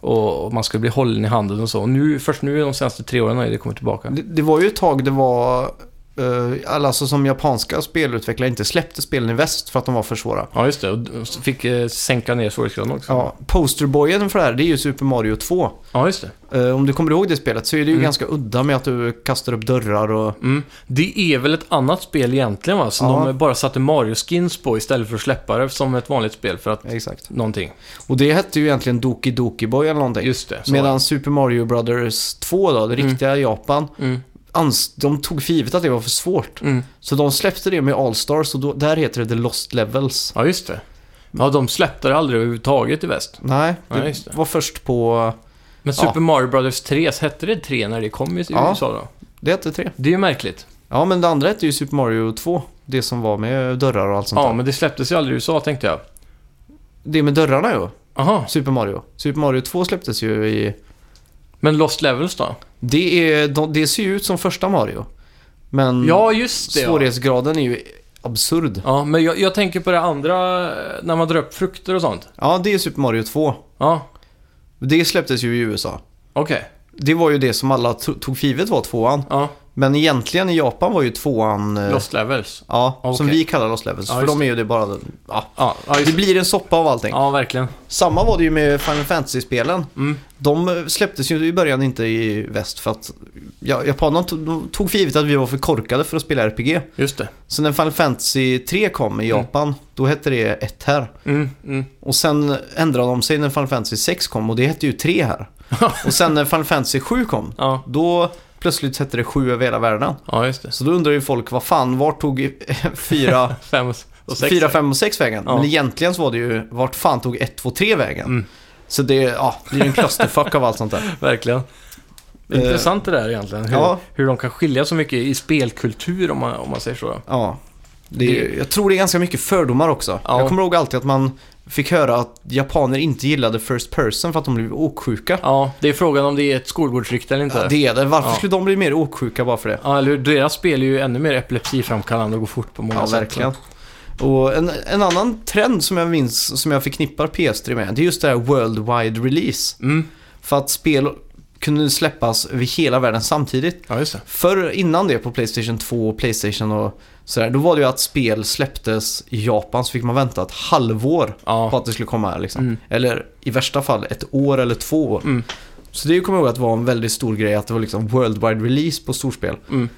B: Och, och man skulle bli hållen i handen och så. Och nu, först nu de senaste tre åren har ju det kommit tillbaka.
A: Det, det var ju ett tag det var... Uh, alltså som japanska spelutvecklare inte släppte spelen i väst för att de var för svåra.
B: Ja, just det. Och d- så fick eh, sänka ner svårighetsgraden också.
A: Ja, posterboyen för det här det är ju Super Mario 2.
B: ja, just det.
A: Eh, om du kommer ihåg det spelet så är det ju
B: Mm.
A: ganska udda med att du kastar upp dörrar och...
B: Mm. Det är väl ett annat spel egentligen va? Som
A: Ja.
B: de bara satte Mario-skins på istället för att släppa det som ett vanligt spel för att
A: Exakt.
B: någonting.
A: Och det hette ju egentligen Doki Doki Boy eller någonting.
B: Just det. så var
A: Medan Super Mario Brothers 2 då, det
B: Mm.
A: riktiga Japan,
B: det. Mm.
A: ans- de tog för givet att det var för svårt.
B: Mm.
A: Så de släppte det med All-Stars och då, där heter det The Lost Levels.
B: Ja, just det. Ja, de släppte det aldrig överhuvudtaget i väst.
A: Nej, det,
B: Ja, just det.
A: var först på...
B: Men
A: Ja.
B: Super Mario Brothers 3, hette det 3 när det kom i
A: Ja.
B: USA då?
A: Det hette 3.
B: Det är ju märkligt.
A: Ja, men det andra hette ju Super Mario 2. Det som var med dörrar och allt sånt
B: Ja,
A: där.
B: men det släpptes ju aldrig i USA tänkte jag.
A: Det med dörrarna ju.
B: Aha.
A: Super Mario. Super Mario 2 släpptes ju i...
B: Men Lost Levels då?
A: Mm. Det, är, de, det ser ju ut som första Mario. Men
B: Ja, just det. ja.
A: svårighetsgraden är ju absurd.
B: Ja, men jag, jag tänker på det andra, eh, när man drar upp frukter och sånt.
A: Ja, det är Super Mario 2.
B: Ja,
A: Det släpptes ju i USA.
B: okej.
A: Det var ju det som alla to- tog för givet var tvåan.
B: Ja,
A: Men egentligen i Japan var ju tvåan... eh,
B: Lost Levels.
A: Ja, som
B: Okej.
A: vi kallar Lost Levels.
B: Ja,
A: för
B: just
A: de är ju det bara... Ja.
B: Ja, ja,
A: Det
B: just,
A: blir en soppa av allting.
B: ja verkligen.
A: Samma var det ju med Final Fantasy-spelen.
B: Mm.
A: De eh, släpptes ju i början inte i väst för att ja, japanerna tog, de tog för givet att vi var för korkade för att spela RPG.
B: Just det.
A: Så när Final Fantasy 3 kom i Japan, då hette det 1 här.
B: Mm, mm.
A: Och sen ändrade de sig när Final Fantasy 6 kom och det hette ju 3 här. och sen när Final Fantasy 7 kom,
B: Ja.
A: då plötsligt hette det 7 över hela världen.
B: ja, just det.
A: Så då undrar ju folk, vad fan, vart tog 4,
B: Fem och s- och sex.
A: 4 5 och 6 vägen?
B: Ja.
A: Men egentligen så var det ju, vart fan tog 1, 2, 3 vägen?
B: Mm.
A: Så det, ja, det är ju en clusterfuck av allt sånt där.
B: Verkligen.
A: Eh,
B: Intressant det där egentligen. Hur,
A: ja.
B: hur de kan skilja så mycket i spelkultur om man, om man säger så.
A: Ja. Det är, jag tror det är ganska mycket fördomar också.
B: Ja.
A: Jag kommer ihåg alltid att man fick höra att japaner inte gillade first person för att de blev åksjuka.
B: Ja, det är frågan om det är ett skolbordsrykte eller inte.
A: Ja, det är det. Varför
B: Ja.
A: skulle de bli mer åksjuka bara för det?
B: Ja, eller hur? Deras spel är ju ännu mer epilepsiframkallande och går fort på många
A: Ja,
B: sätt.
A: verkligen. Och en, en annan trend som jag minns, som jag förknippar PS3 med, det är just det här worldwide release.
B: Mm.
A: För att spel kunde släppas över hela världen samtidigt.
B: Ja, just det.
A: Förr innan det på Playstation 2 och Playstation och sådär, då var det ju att spel släpptes i Japan så fick man vänta ett halvår på
B: Ja.
A: att det skulle komma här liksom.
B: Mm.
A: Eller i värsta fall ett år eller två år.
B: Mm.
A: Så det kommer jag ihåg att var en väldigt stor grej att det var liksom worldwide release på storspel.
B: Mm.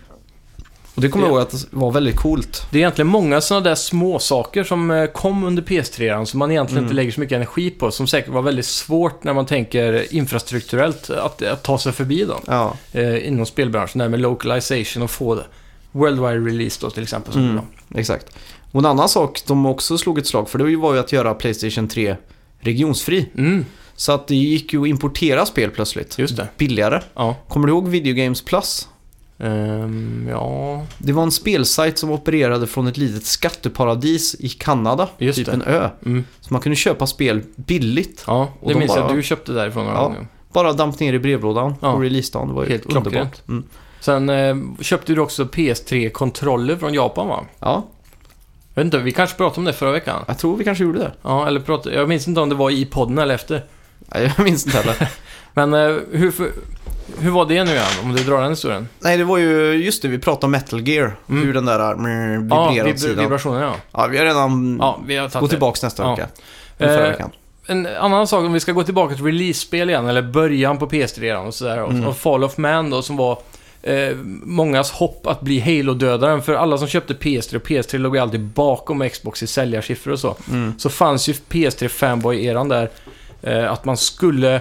A: Och det kommer jag
B: Ja.
A: ihåg att det var väldigt coolt.
B: Det är egentligen många sådana där små saker som eh, kom under PS3 som man egentligen
A: Mm.
B: inte lägger så mycket energi på. Som säkert var väldigt svårt när man tänker infrastrukturellt att, att ta sig förbi dem.
A: Ja,
B: eh, inom spelbranschen, det här med localization och få det. Worldwide release då till exempel. Som
A: Mm.
B: mm.
A: exakt. Och en annan sak de också slog ett slag för det var ju att göra Playstation 3 regionsfri.
B: mm,
A: Så att det gick ju att importera spel plötsligt.
B: just det.
A: Billigare.
B: Mm. Ja.
A: Kommer du ihåg Video Games Plus?
B: Ehm, ja,
A: Det var en spelsajt som opererade från ett litet skatteparadis i Kanada.
B: Just
A: typ
B: det.
A: en ö.
B: mm,
A: Så man kunde köpa spel billigt.
B: ja.
A: Och
B: det
A: de
B: minns jag
A: bara-
B: att du köpte därifrån några
A: Ja.
B: gånger.
A: Bara damp ner i brevlådan
B: Ja.
A: på releasedagen. Det var ju
B: Helt
A: underbart.
B: klockrent.
A: Mm.
B: Sen eh, köpte du också PS3-kontroller från Japan va?
A: Ja,
B: Jag vet inte, vi kanske pratade om det förra veckan?
A: jag tror vi kanske gjorde det.
B: Ja, eller pratade, jag minns inte om det var i podden eller efter.
A: Nej, jag minns inte heller.
B: Men eh, hur, för, hur var det nu igen, om du drar den historien?
A: Nej, det var ju just det vi pratade om Metal Gear.
B: Mm.
A: Hur den där mm, vibrerar
B: ja,
A: åt
B: vib-
A: sidan.
B: vibrationen ja.
A: Ja, vi har redan...
B: Ja, vi har tagit
A: Gå
B: det.
A: tillbaka nästa
B: Ja.
A: vecka. Eller förra
B: Eh,
A: veckan.
B: en annan sak, om vi ska gå tillbaka till release-spel igen, eller början på PS3 redan och sådär. och-
A: Mm.
B: Och Fall of Man då, som var eh, mångas hopp att bli Halo-dödaren. För alla som köpte PS3, och PS3 låg ju alltid bakom Xbox i säljarsiffror och så.
A: Mm.
B: Så fanns ju PS3 Fanboy-eran där. Eh, att man skulle...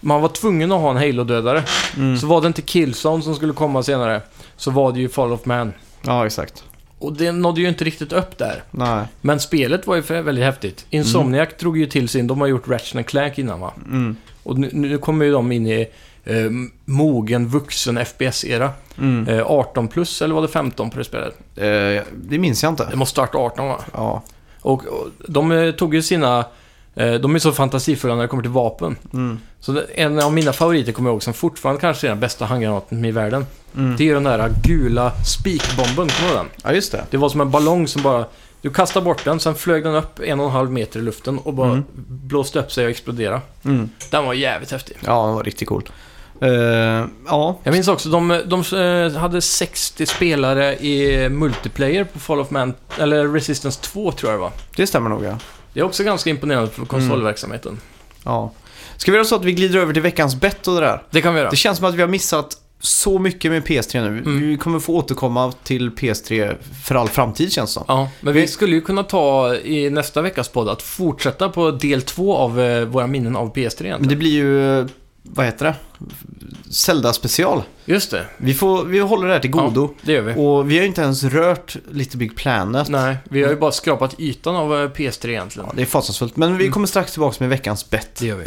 B: Man var tvungen att ha en Halo-dödare.
A: Mm.
B: Så var det inte Killzone som skulle komma senare, så var det ju Fall of Man.
A: Ja, exakt.
B: Och det nådde ju inte riktigt upp där.
A: Nej.
B: Men spelet var ju för- väldigt häftigt. Insomniac drog ju till sin, de har gjort Ratchet Clank innan va?
A: Mm.
B: Och nu, nu kommer ju de in i eh, mogen, vuxen FPS-era.
A: Mm.
B: Eh, 18 plus, eller var det 15 på det spelet?
A: Eh, det minns jag
B: Det
A: inte.
B: måste ha varit 18 va?
A: Ja.
B: Och, och de eh, tog ju sina... Eh, de är så fantasifulla när det kommer till vapen.
A: Mm.
B: Så det, en av mina favoriter kommer jag ihåg, som fortfarande kanske är den bästa handgranaten i världen.
A: Mm.
B: Det är ju den där gula spikbomben, kommer du ihåg den?
A: Ja, just det.
B: Det var som en ballong som bara... Du kastade bort den, sen flög den upp en och en halv meter i luften och bara
A: Mm.
B: blåste upp sig och exploderade.
A: Mm.
B: Den var jävligt häftig.
A: Ja, det var riktigt coolt. Eh, ja.
B: Jag minns också, de, de eh, hade 60 spelare i multiplayer på Fall of Man, eller Resistance 2 tror jag det var.
A: Det stämmer nog ja.
B: Det är också ganska imponerande för konsolverksamheten.
A: Mm. ja. Ska vi göra så att vi glider över till veckans bett och det där?
B: Det kan vi göra.
A: Det känns som att vi har missat så mycket med PS3 nu.
B: Mm.
A: Vi kommer få återkomma till PS3 för all framtid känns det som.
B: Ja, men vi skulle ju kunna ta i nästa veckas podd att fortsätta på del 2 av eh, våra minnen av PS3
A: Men
B: egentligen.
A: det blir ju, eh, vad heter det? Zelda-special.
B: Just det.
A: Vi, får, vi håller det här till godo.
B: Ja, det gör vi.
A: Och vi har ju inte ens rört Little Big Planet.
B: Nej, vi har ju bara skrapat ytan av eh, PS3 egentligen.
A: Ja, det är fasansfullt. Men
B: Mm.
A: vi kommer strax tillbaka med veckans bett.
B: Det gör vi.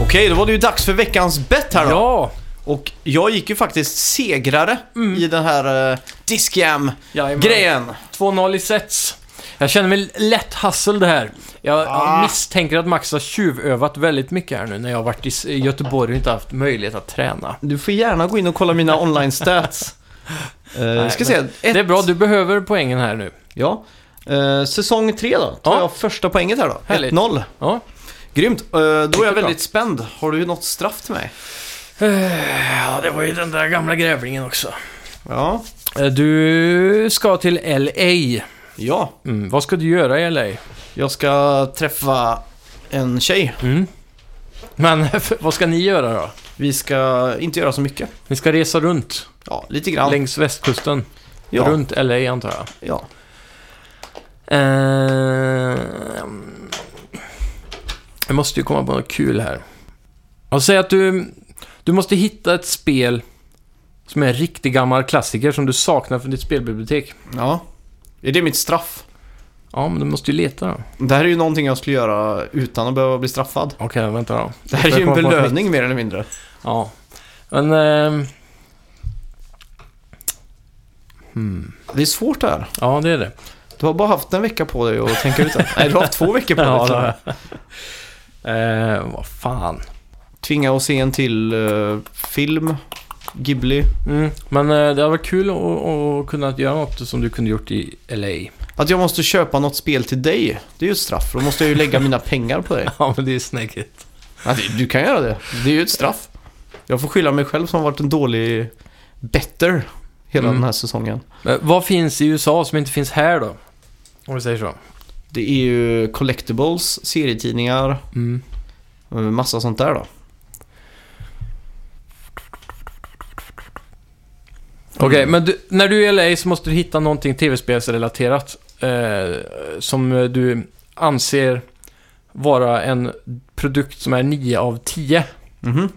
A: Okej, då var det ju dags för veckans bett här då.
B: Ja!
A: Och jag gick ju faktiskt segrare
B: Mm.
A: i den här uh, Discam-grejen.
B: Jajamän. 2-0 i sets. Jag känner mig lätt hassel det här. Jag, jag
A: Ah.
B: misstänker att Max har tjuvövat väldigt mycket här nu när jag har varit i S- i Göteborg och inte haft möjlighet att träna.
A: Du får gärna gå in och kolla mina online-stats. Eh,
B: Nej,
A: ska se,
B: men
A: ett,
B: Det är bra, du behöver poängen här nu.
A: Ja. Eh, säsong tre då, tar
B: Ja.
A: jag första poänget här då.
B: Härligt.
A: 1-0.
B: Ja.
A: Grymt. Eh, då är
B: bra.
A: jag väldigt spänd. Har du något straff till mig?
B: ja, det var ju den där gamla grävlingen också.
A: Ja.
B: Eh, Du ska till LA.
A: Ja,
B: Mm, vad ska du göra i LA?
A: jag ska träffa en tjej.
B: Mm. Men vad ska ni göra då?
A: Vi ska inte göra så mycket.
B: Ni ska resa runt
A: Ja, lite grann.
B: längs västkusten.
A: Ja,
B: Runt LA antar jag.
A: ja.
B: Ehm, jag måste ju komma på något kul här. Jag säger att du, du måste hitta ett spel som är en riktig gammal klassiker som du saknar från ditt spelbibliotek.
A: Ja. Är det mitt straff?
B: Ja, men du måste ju leta då.
A: Det här är ju någonting jag skulle göra utan att behöva bli straffad.
B: Okej, vänta då.
A: Det här är
B: Jag
A: ju en
B: kommer på något
A: belöning mer eller mindre.
B: nytt. Ja. Men... ehm,
A: Det är svårt det här.
B: ja, det är det.
A: Du har bara haft en vecka på dig att tänka ut det. Nej, du har haft två veckor på dig. liksom.
B: Ja, det
A: tror jag.
B: har jag. Ehm, vad fan.
A: Tvinga oss se en till eh, film, Ghibli.
B: Mm, men eh, det hade varit kul att- att kunna göra något som du kunde gjort i LA.
A: Att jag måste köpa något spel till dig, det är ju ett straff. Då måste jag ju lägga mina pengar på dig.
B: Ja, men det är snäggigt.
A: Ja, det- Alltså, Du kan göra det. Det är ju ett straff. Jag får skylla mig själv som har varit en dålig better hela
B: Mm.
A: den här säsongen.
B: Men vad finns i USA som inte finns här då? Mm. Om vi säger så.
A: Det är ju collectibles, serietidningar,
B: Mm.
A: eh, massa sånt där då.
B: Okej, men du, när du är i LA så måste du hitta någonting tv-spelsrelaterat eh, som du anser vara en produkt som är 9 av 10.
A: Mhm.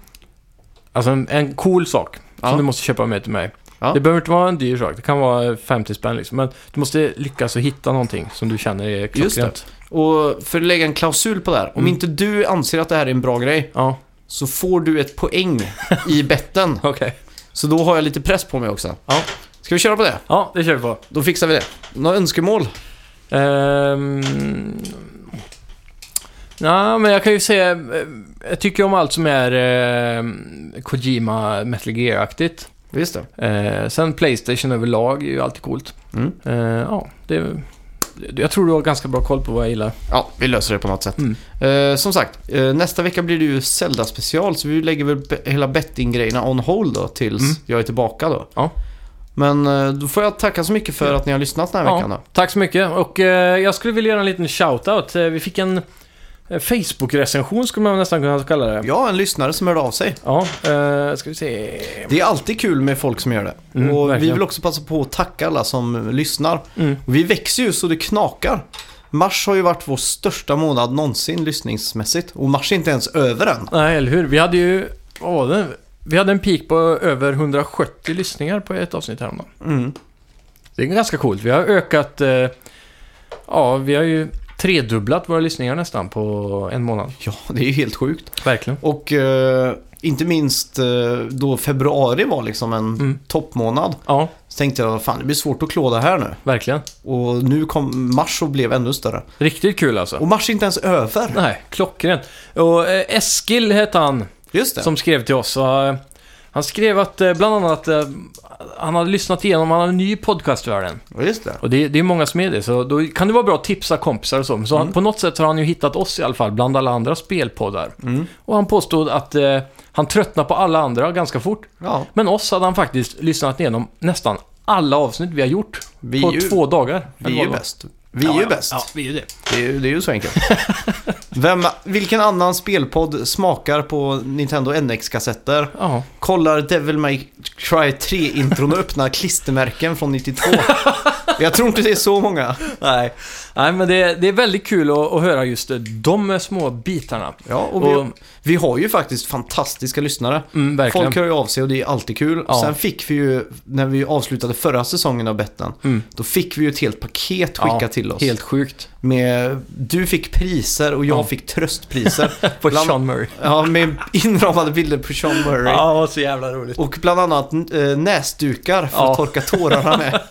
B: Alltså en, en cool sak
A: Ja.
B: som du måste köpa med till mig.
A: Ja.
B: Det behöver inte vara en dyr sak, det kan vara 50 spänn liksom. Men du måste lyckas att hitta någonting som du känner är klockrent.
A: Just det. Och för att lägga en klausul på det här. Om
B: Mm.
A: inte du anser att det här är en bra grej
B: Ja,
A: så får du ett poäng i betten.
B: okej.
A: Så då har jag lite press på mig också.
B: Ja.
A: Ska vi köra på det?
B: Ja, det kör vi på.
A: Då fixar vi det. Några önskemål?
B: Ehm... Ja, men jag kan ju säga... eh, Jag tycker om allt som är ehm, Kojima Metal Gear-aktigt.
A: Visst det.
B: Eh, sen Playstation överlag är ju alltid coolt.
A: Mm.
B: Eh, ja, det... Jag tror du har ganska bra koll på vad jag gillar.
A: Ja, vi löser det på något sätt.
B: Mm.
A: Eh, som sagt, eh, nästa vecka blir det ju Zelda-special, så vi lägger väl be- hela betting-grejerna on hold då tills
B: Mm.
A: jag är tillbaka då.
B: Ja.
A: Men eh, då får jag tacka så mycket för att ni har lyssnat den här
B: Ja,
A: veckan då.
B: Tack så mycket. Och eh, jag skulle vilja göra en liten shout-out. Eh, Vi fick en eh, Facebook-recension skulle man nästan kunna kalla det.
A: Ja, en lyssnare som hörde av sig.
B: Ja, eh, ska vi se.
A: Det är alltid kul med folk som gör det.
B: Mm,
A: och vi
B: verkligen.
A: vill också passa på att tacka alla som lyssnar.
B: Mm.
A: Och vi växer ju så det knakar. Mars har ju varit vår största månad någonsin lyssningsmässigt. Och mars är inte ens över än.
B: Nej, eller hur? Vi hade ju... Vad var det? Vi hade en peak på över 170 lyssningar på ett avsnitt häromdagen.
A: Mm.
B: Det är ganska coolt. Vi har ökat... Eh, ja, vi har ju tredubblat våra lyssningar nästan på en månad.
A: Ja, det är ju helt sjukt.
B: Verkligen.
A: Och eh, inte minst eh, då februari var liksom en
B: Mm.
A: toppmånad.
B: Ja,
A: Så tänkte jag, fan det blir svårt att klå det här nu.
B: verkligen.
A: Och nu kom mars och blev ännu större.
B: Riktigt kul alltså.
A: Och mars är inte ens över.
B: Nej, klockrent. Och eh, Eskil hette han.
A: Just det.
B: som skrev till oss. Och, eh, han skrev att eh, bland annat eh, han hade lyssnat igenom, han har en ny podcast för den.
A: Ja, Just det.
B: Och det, det är många som är det, så då kan det vara bra att tipsa kompisar och så. Men Så
A: Mm.
B: han, på något sätt har han ju hittat oss i alla fall, bland alla andra spelpoddar.
A: Mm.
B: Och han påstod att eh, han tröttnade på alla andra ganska fort.
A: Ja,
B: Men oss hade han faktiskt lyssnat igenom nästan alla avsnitt vi har gjort
A: Vi
B: på
A: är ju-
B: två dagar.
A: vi är ju bäst. Vi är ju bäst.
B: Ja, vi är ju det.
A: Det, är, ju- det är ju så enkelt. Vem, vilken annan spelpodd smakar på Nintendo NX-kassetter?
B: Ja,
A: Kollar Devil May Cry 3-intron och öppnar klistermärken från 92. Jag tror inte det är så många.
B: nej. nej, men det, det är väldigt kul att, att höra just eh, de små bitarna.
A: Ja, och vi,
B: Och-
A: vi har ju faktiskt fantastiska lyssnare.
B: Mm, verkligen.
A: Folk hör ju av sig och det är alltid kul.
B: Ja.
A: Sen fick vi ju, när vi avslutade förra säsongen av betten,
B: Mm.
A: då fick vi ju ett helt paket skickat
B: Ja,
A: till oss.
B: Helt sjukt.
A: Med, du fick priser och jag
B: Ja.
A: fick tröstpriser.
B: På
A: Bland-
B: Sean Murray.
A: ja, med inramade bilder på Sean Murray.
B: vad så jävla roligt.
A: Och bland annat eh, näsdukar för
B: Ja.
A: att torka tårarna med.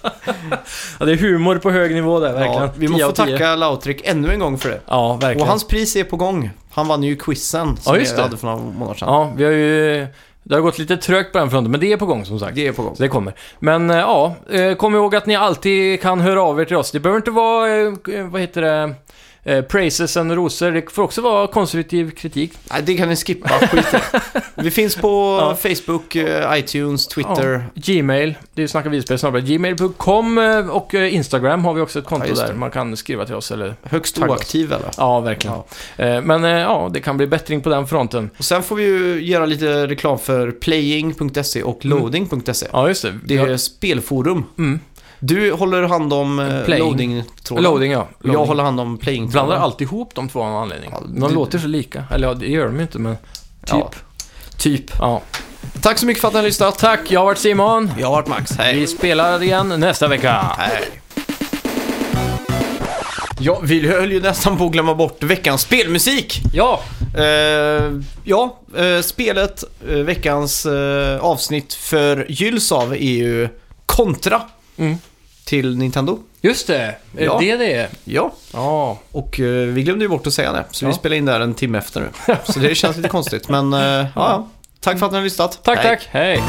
B: Ja, det är humor på hög nivå där, verkligen.
A: ja, vi
B: 10
A: måste
B: av 10.
A: tacka Lautrick ännu en gång för det.
B: Ja, verkligen.
A: Och hans pris är på gång. Han vann ju quizen som
B: Ja, just
A: vi
B: det.
A: hade för några månader sedan.
B: Ja, vi har ju... Det har gått lite trögt på den fronten, men det är på gång som sagt.
A: Det är på gång.
B: Så det kommer. Men eh, ja, eh, kom ihåg att ni alltid kan höra av er till oss. Det behöver inte vara, eh, vad heter det, eh, praises and rosor. Det får också vara konstruktiv kritik.
A: Nej, det kan ni skippa. Skit i det. Vi finns på
B: Ja.
A: Facebook, eh, iTunes, Twitter.
B: Gmail, det är snacka vidspel snabbare. Gmail.com eh, och eh, Instagram har vi också ett konto
A: Ja, just det.
B: där man kan skriva till oss eller...
A: Högst
B: Tagga oss.
A: oaktiv eller?
B: Ja, verkligen. Eh, Men eh, ja, det kan bli bättring på den fronten.
A: Och sen får vi ju göra lite reklam för playing.se och loading.se.
B: Ja, just det.
A: Det
B: Ja.
A: är spelforum.
B: Mm.
A: Du håller hand om eh,
B: Playing.
A: loading-tråden.
B: Loading, ja.
A: Och Jag håller hand om playing-tråden.
B: Blandar alltid ihop de två av någon anledning.
A: Ja,
B: de
A: det-
B: låter så lika. Eller ja, det gör de ju inte, men...
A: Ja,
B: Typ.
A: Typ.
B: Ja.
A: Tack så mycket för att ni har lyssnat.
B: Tack, jag har varit Simon.
A: Jag har varit Max.
B: Vi spelar igen nästa vecka.
A: Hej. Ja, vi höll ju nästan på att glömma bort veckans spelmusik.
B: Ja,
A: Eh, ja, eh, spelet, eh, veckans eh, avsnitt för gylls av är ju Contra
B: Mm.
A: till Nintendo.
B: just det. Är
A: Ja.
B: det det är?
A: Ja,
B: Ja.
A: och eh, vi glömde ju bort att säga det, så vi
B: Ja.
A: spelar in där en timme efter nu. Så det känns lite konstigt, men eh, ja, ja. Tack för att ni har lyssnat.
B: Tack,
A: Hej.
B: tack. Hej.